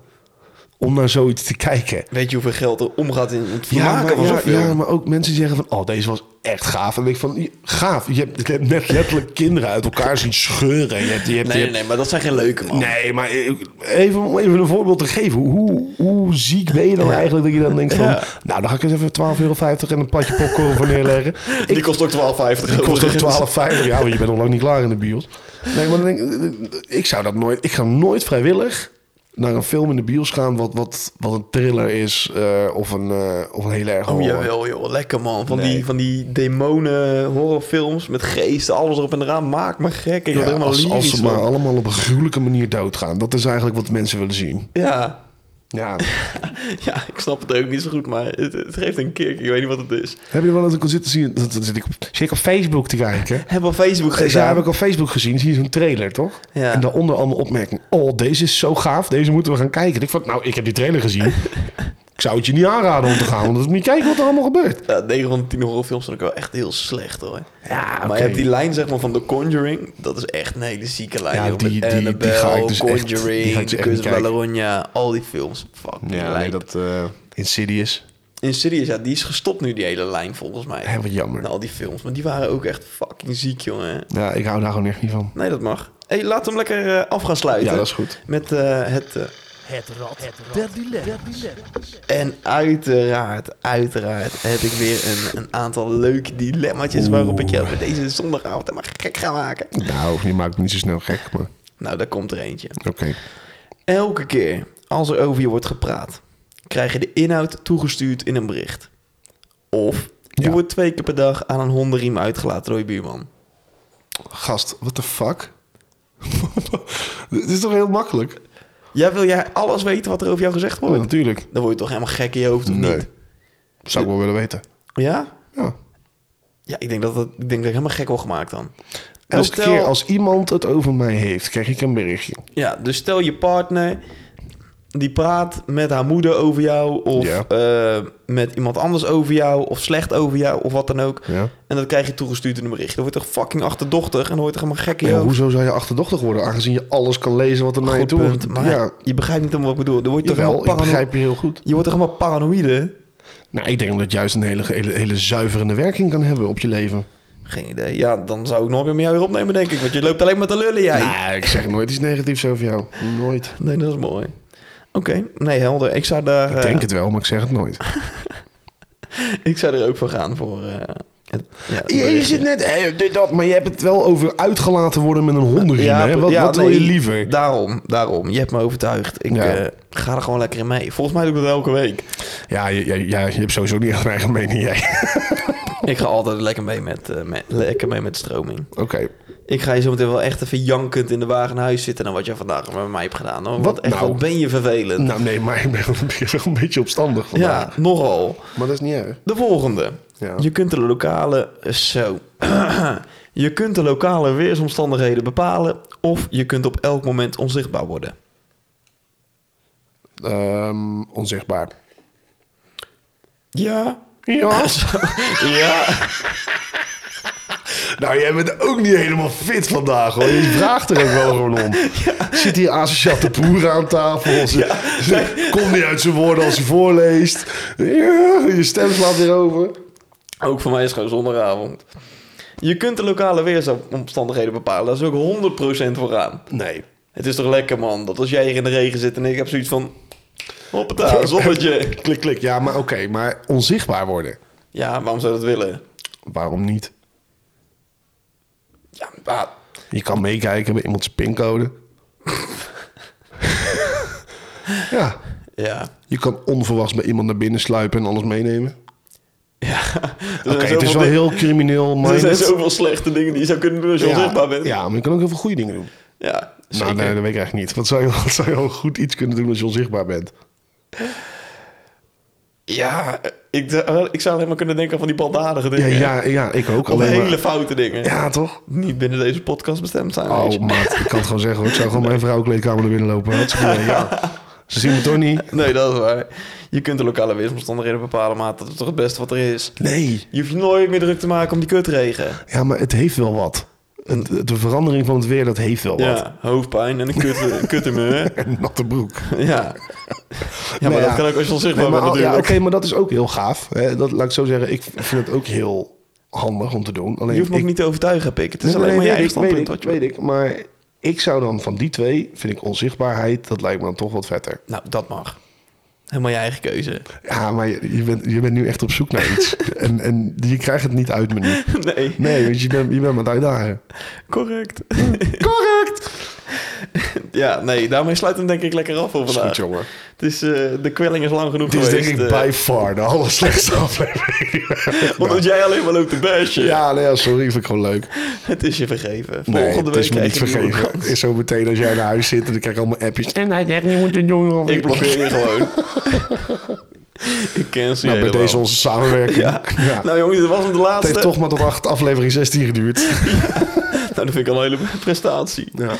S1: om naar zoiets te kijken.
S2: Weet je hoeveel geld er omgaat in het maken van zo'n
S1: ja,
S2: film?
S1: ja, maar ook mensen die zeggen van, oh, deze was echt gaaf. En dan denk ik van, je- gaaf, je hebt, je hebt net letterlijk kinderen uit elkaar zien scheuren. Je hebt, je hebt,
S2: Nee,
S1: je
S2: nee,
S1: hebt-
S2: nee, maar dat zijn geen leuke man.
S1: Nee, maar even, om even een voorbeeld te geven. Hoe, hoe ziek ben je dan eigenlijk dat je dan denkt van...
S2: Ja.
S1: Nou, dan ga ik eens even 12,50 euro en een platje popcorn voor neerleggen.
S2: Die kost ook 12,50
S1: Ik kost
S2: overigens.
S1: ook 12,50. Ja, want je bent nog lang niet klaar in de bios. Nee, maar dan denk ik, ik zou dat nooit... Ik ga nooit vrijwillig naar een film in de bios gaan... wat, wat, wat een thriller is eh, of, een, eh, of een heel erg
S2: Oh,
S1: horror.
S2: jawel, joh. Lekker, man. Van,
S1: Nee.
S2: die, van die demonen horrorfilms met geesten, alles erop en eraan. Maak me gek. Ik
S1: Ja,
S2: word helemaal
S1: als, als
S2: lyrisch
S1: ze maar
S2: van.
S1: allemaal op een gruwelijke manier doodgaan. Dat is eigenlijk wat mensen willen zien.
S2: Ja,
S1: Ja.
S2: Ja, ik snap het ook niet zo goed, maar het, het geeft een kick. Ik weet niet wat het is.
S1: Heb je wel eens een concert te zien? Dat, dat zit, ik op, zit ik op Facebook te kijken.
S2: Heb op
S1: Dus
S2: Facebook
S1: ja, heb
S2: gedaan.
S1: ik op Facebook gezien. Zie je zo'n trailer, toch?
S2: Ja.
S1: En daaronder allemaal opmerkingen. Oh, deze is zo gaaf. Deze moeten we gaan kijken. En ik vond, nou, ik heb die trailer gezien. ik zou het je niet aanraden om te gaan. Want dan moet je kijken wat er allemaal gebeurt.
S2: Ja, 9 van de 10 horrorfilms vind ik wel echt heel slecht hoor.
S1: Ja,
S2: Maar je hebt die lijn zeg maar van The Conjuring. Dat is echt een hele zieke lijn.
S1: Ja,
S2: joh,
S1: die-
S2: met
S1: die- die
S2: Annabelle,
S1: ga ik dus echt- die ga ik
S2: Conjuring,
S1: dus echt
S2: Curse
S1: niet
S2: of La
S1: kijken.
S2: Llorona, al die films. Fuck, die
S1: Ja, nee,
S2: lijn.
S1: dat... eh, Insidious.
S2: Insidious, ja, die is gestopt nu, die hele lijn volgens mij.
S1: Hè, wat jammer.
S2: Na al die films, maar die waren ook echt fucking ziek, jongen.
S1: Ja, ik hou daar gewoon echt niet van.
S2: Nee, dat mag. hey, laat hem lekker eh, af gaan sluiten.
S1: Ja, dat is goed.
S2: Met eh, het... eh,
S3: Het rad, het rad der dilemma's.
S2: En uiteraard, uiteraard heb ik weer een, een aantal leuke dilemmaatjes waarop ik je deze zondagavond helemaal gek ga maken.
S1: Nou, je maakt me niet zo snel gek, maar...
S2: Nou, daar komt er eentje.
S1: Oké.
S2: Elke keer als er over je wordt gepraat, krijg je de inhoud toegestuurd in een bericht. Of je
S1: Ja.
S2: wordt twee keer per dag aan een hondenriem uitgelaten door je buurman.
S1: Gast, what the fuck? Dit is toch heel makkelijk?
S2: Ja, wil jij alles weten wat er over jou gezegd
S1: Ja,
S2: wordt?
S1: natuurlijk.
S2: Dan word je toch helemaal gek in je hoofd, of niet?
S1: Zou ik wel willen weten.
S2: Ja?
S1: Ja.
S2: Ja, ik denk dat, dat, ik denk dat ik helemaal gek word gemaakt dan.
S1: Elke
S2: Dus stel-
S1: keer als iemand het over mij heeft, krijg ik een berichtje.
S2: Ja, dus stel je partner die praat met haar moeder over jou of
S1: Ja.
S2: eh, met iemand anders over jou of slecht over jou of wat dan ook.
S1: Ja.
S2: En dat krijg je toegestuurd in een bericht. Dan wordt toch fucking achterdochtig en dan wordt er helemaal gek in
S1: Ja,
S2: je hoofd.
S1: hoezo zou je achterdochtig worden, aangezien je alles kan lezen wat er naar je
S2: Goed
S1: toe
S2: punt, maar
S1: Ja,
S2: je begrijpt niet helemaal wat ik bedoel. Dan word je toch
S1: jawel,
S2: helemaal
S1: ik
S2: parano-
S1: begrijp je heel goed.
S2: Je wordt toch helemaal paranoïde?
S1: Nou, ik denk dat het juist een hele, hele, hele zuiverende werking kan hebben op je leven.
S2: Geen idee. Ja, dan zou ik nooit meer met jou weer opnemen, denk ik. Want je loopt alleen maar te lullen, jij.
S1: Nee, Nou, ik zeg nooit iets negatiefs over jou. Nooit.
S2: Nee, dat is mooi. Oké, nee, helder. Ik zou daar...
S1: Ik
S2: eh,
S1: denk het wel, maar ik zeg het nooit.
S2: Ik zou er ook voor gaan voor... eh, het, ja, het
S1: Je, je
S2: berichtje.
S1: zit net, hé, dit, dat, maar je hebt het wel over uitgelaten worden met een hondenriem. hè? Wat,
S2: ja,
S1: wat wil je
S2: nee,
S1: liever?
S2: Daarom, daarom. Je hebt me overtuigd. Ik
S1: Ja.
S2: eh, ga er gewoon lekker in mee. Volgens mij doe ik dat elke week.
S1: Ja, je, je, ja, je hebt sowieso niet echt een eigen mening, jij.
S2: ik ga altijd lekker mee met, eh, met- lekker mee met stroming.
S1: Oké.
S2: Ik ga je zometeen wel echt even jankend in de wagen naar huis zitten... dan wat jij vandaag met mij hebt gedaan. Hoor. Want
S1: Wat
S2: echt,
S1: nou?
S2: wat ben je vervelend.
S1: Nou, nee, maar ik ben wel een beetje- wel een beetje opstandig vandaag.
S2: ja, nogal.
S1: Maar dat is niet erg.
S2: De volgende.
S1: Ja.
S2: Je kunt de lokale... eh, Zo. je kunt de lokale weersomstandigheden bepalen... of je kunt op elk moment onzichtbaar worden.
S1: Ehm, onzichtbaar.
S2: Ja.
S1: Ja.
S2: Ja.
S1: Nou, jij bent ook niet helemaal fit vandaag, hoor. Je vraagt er ook wel gewoon om. Zit hier asociaal te boeren aan tafel. Ze, ze komt niet uit zijn woorden als hij voorleest. Ja, je stem slaat weer over.
S2: Ook voor mij is het gewoon zondagavond. Je kunt de lokale weersomstandigheden bepalen. Daar is ook 100% voor aan.
S1: Nee.
S2: Het is toch lekker, man, dat als jij hier in de regen zit en ik heb zoiets van... Hoppata, zonnetje.
S1: Klik, klik. Ja, maar oké. maar onzichtbaar worden.
S2: Ja, waarom zou je dat willen?
S1: Waarom niet?
S2: Ja, ah. maar
S1: Je kan meekijken bij iemands pincode. ja,
S2: ja.
S1: je kan onverwachts bij iemand naar binnen sluipen en alles meenemen.
S2: ja. Oké,
S1: Oké, het is wel heel crimineel,
S2: Er zijn
S1: minded.
S2: zoveel slechte dingen die je zou kunnen doen als je onzichtbaar
S1: Ja,
S2: bent.
S1: ja, maar je kan ook heel veel goede dingen doen.
S2: ja Dus
S1: Nou,
S2: zeker.
S1: nee, dat weet ik eigenlijk niet. Wat zou, je, wat zou je wel goed iets kunnen doen als je onzichtbaar bent?
S2: Ja, ik, ik zou alleen maar kunnen denken van die baldadige
S1: Ja,
S2: dingen.
S1: ja, ja ik ook.
S2: Of
S1: Alleen maar-
S2: hele foute dingen.
S1: Ja, toch?
S2: Niet binnen deze podcast bestemd zijn. weet
S1: Oh,
S2: je.
S1: maat, ik kan het gewoon zeggen. hoor. Ik zou gewoon mijn vrouwenkleedkamer naar binnen lopen. Had ze gedaan, ja. Ze zien me toch niet?
S2: Nee, dat is waar. Je kunt de lokale weersomstandigheden bepalen, maar dat is toch het beste wat er is.
S1: Nee.
S2: Je hoeft je nooit meer druk te maken om die kutregen.
S1: Ja, maar het heeft wel wat. Het- het- de verandering van het weer, dat heeft wel wat.
S2: Ja, hoofdpijn en een kut, kuttenmeur.
S1: En natte broek.
S2: Ja. Ja, maar
S1: Nou
S2: dat
S1: ja.
S2: kan ook als je
S1: Nee,
S2: onzichtbaar
S1: maar,
S2: bent
S1: al- ja,
S2: natuurlijk.
S1: Oké, maar dat is ook heel gaaf. Hè? Dat, laat ik zo zeggen, ik vind het ook heel handig om te doen. Alleen,
S2: Je hoeft me ook
S1: ik-
S2: niet te overtuigen, Pik. Het is
S1: Nee,
S2: alleen
S1: nee,
S2: maar je eigen
S1: weet
S2: standpunt.
S1: ik,
S2: wat je-
S1: Weet ik, weet ik. Maar ik zou dan van die twee, vind ik onzichtbaarheid, dat lijkt me dan toch wat vetter.
S2: Nou, dat mag. Helemaal je eigen keuze.
S1: Ja, maar je, je bent, je bent nu echt op zoek naar iets. en, en je krijgt het niet uit me nu.
S2: Nee,
S1: Nee, want je bent, je bent met uitdagen.
S2: correct.
S1: Correct!
S2: Ja, nee, daarmee sluit hem denk ik lekker af voor
S1: Dat is goed,
S2: vandaag.
S1: jongen.
S2: Het is, eh, de kwelling is lang genoeg
S1: Dit is
S2: geweest.
S1: denk ik
S2: eh,
S1: by far de allerslechtste aflevering.
S2: Omdat jij alleen maar loopt te bashen.
S1: Ja, nee, ja, sorry, vind ik gewoon leuk.
S2: Het is je vergeven.
S1: Nee,
S2: Volgende
S1: het
S2: week
S1: is me
S2: krijg
S1: niet
S2: je een nieuwe
S1: vergeven.
S2: kans.
S1: Is zo meteen als jij naar huis zit en dan krijg ik allemaal appjes. Nou, En hij zegt, je moet het doen. hoor."
S2: Ik blokkeer je gewoon. ik cancel
S1: Nou,
S2: je
S1: bij
S2: helemaal.
S1: deze onze samenwerking.
S2: Ja. Nou jongens, dit was hem de
S1: Het
S2: laatste.
S1: heeft toch maar tot acht, aflevering 16 geduurd.
S2: Nou, dat vind ik al een hele prestatie.
S1: Ja.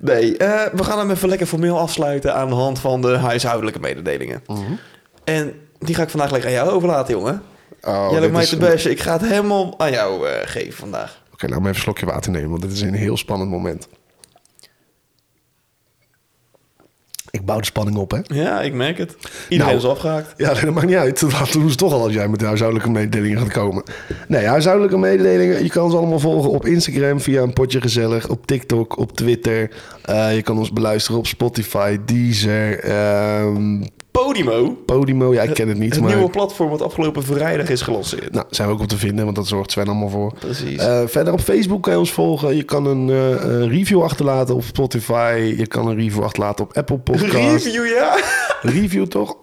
S2: Nee, eh, we gaan hem even lekker formeel afsluiten aan de hand van de huishoudelijke mededelingen. En die ga ik vandaag lekker aan jou overlaten, jongen.
S1: Mhm. Oh, dit
S2: jij loopt mij
S1: is
S2: te
S1: een-
S2: bashen. Ik ga het helemaal aan jou eh, geven vandaag.
S1: Oké, laat me even een slokje water nemen, want dit is een heel spannend moment. Ik bouw de spanning op, hè?
S2: Ja, ik merk het. Iedereen
S1: Nou.
S2: is afgehaakt.
S1: Ja, nee, dat maakt niet uit. Dat doen ze toch al als jij met de huishoudelijke mededelingen gaat komen. Nee, huishoudelijke mededelingen. Je kan ze allemaal volgen op Instagram via een potje gezellig. Op TikTok, op Twitter. Eh, je kan ons beluisteren op Spotify, Deezer, ehm,
S2: Podimo,
S1: Podimo. Ja, ik ken het niet,
S2: het
S1: maar...
S2: nieuwe platform wat afgelopen vrijdag is gelanceerd.
S1: Nou, zijn we ook op te vinden, want dat zorgt Sven allemaal voor.
S2: Precies.
S1: Eh, verder op Facebook kan je ons volgen. Je kan een, eh, een review achterlaten op Spotify. Je kan een review achterlaten op Apple Podcasts.
S2: Review, ja.
S1: Review toch?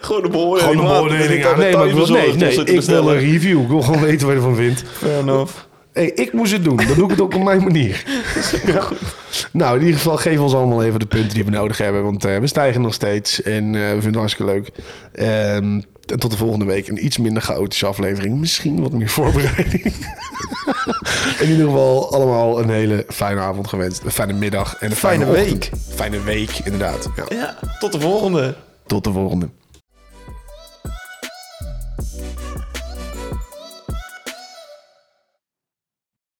S2: Gewoon een beoordeling.
S1: Gewoon een
S2: laten.
S1: beoordeling
S2: Dan
S1: aan.
S2: kan
S1: Nee,
S2: ik
S1: maar ik
S2: thuis
S1: wil, nee,
S2: bezorgd
S1: nee,
S2: om ze te
S1: ik wil een
S2: bestellen.
S1: review. Ik wil gewoon weten wat je ervan vindt.
S2: Fair enough.
S1: Hey, ik moest het doen. Dan doe ik het ook op mijn manier. Nou, in ieder geval geef ons allemaal even de punten die we nodig hebben. Want eh, we stijgen nog steeds. En eh, we vinden het hartstikke leuk. Ehm, en tot de volgende week. Een iets minder chaotische aflevering. Misschien wat meer voorbereiding. in ieder geval allemaal een hele fijne avond gewenst. Een fijne middag. En een fijne,
S2: Fijne
S1: ochtend. Fijne week, inderdaad. Ja.
S2: Ja, tot de volgende.
S1: Tot de volgende.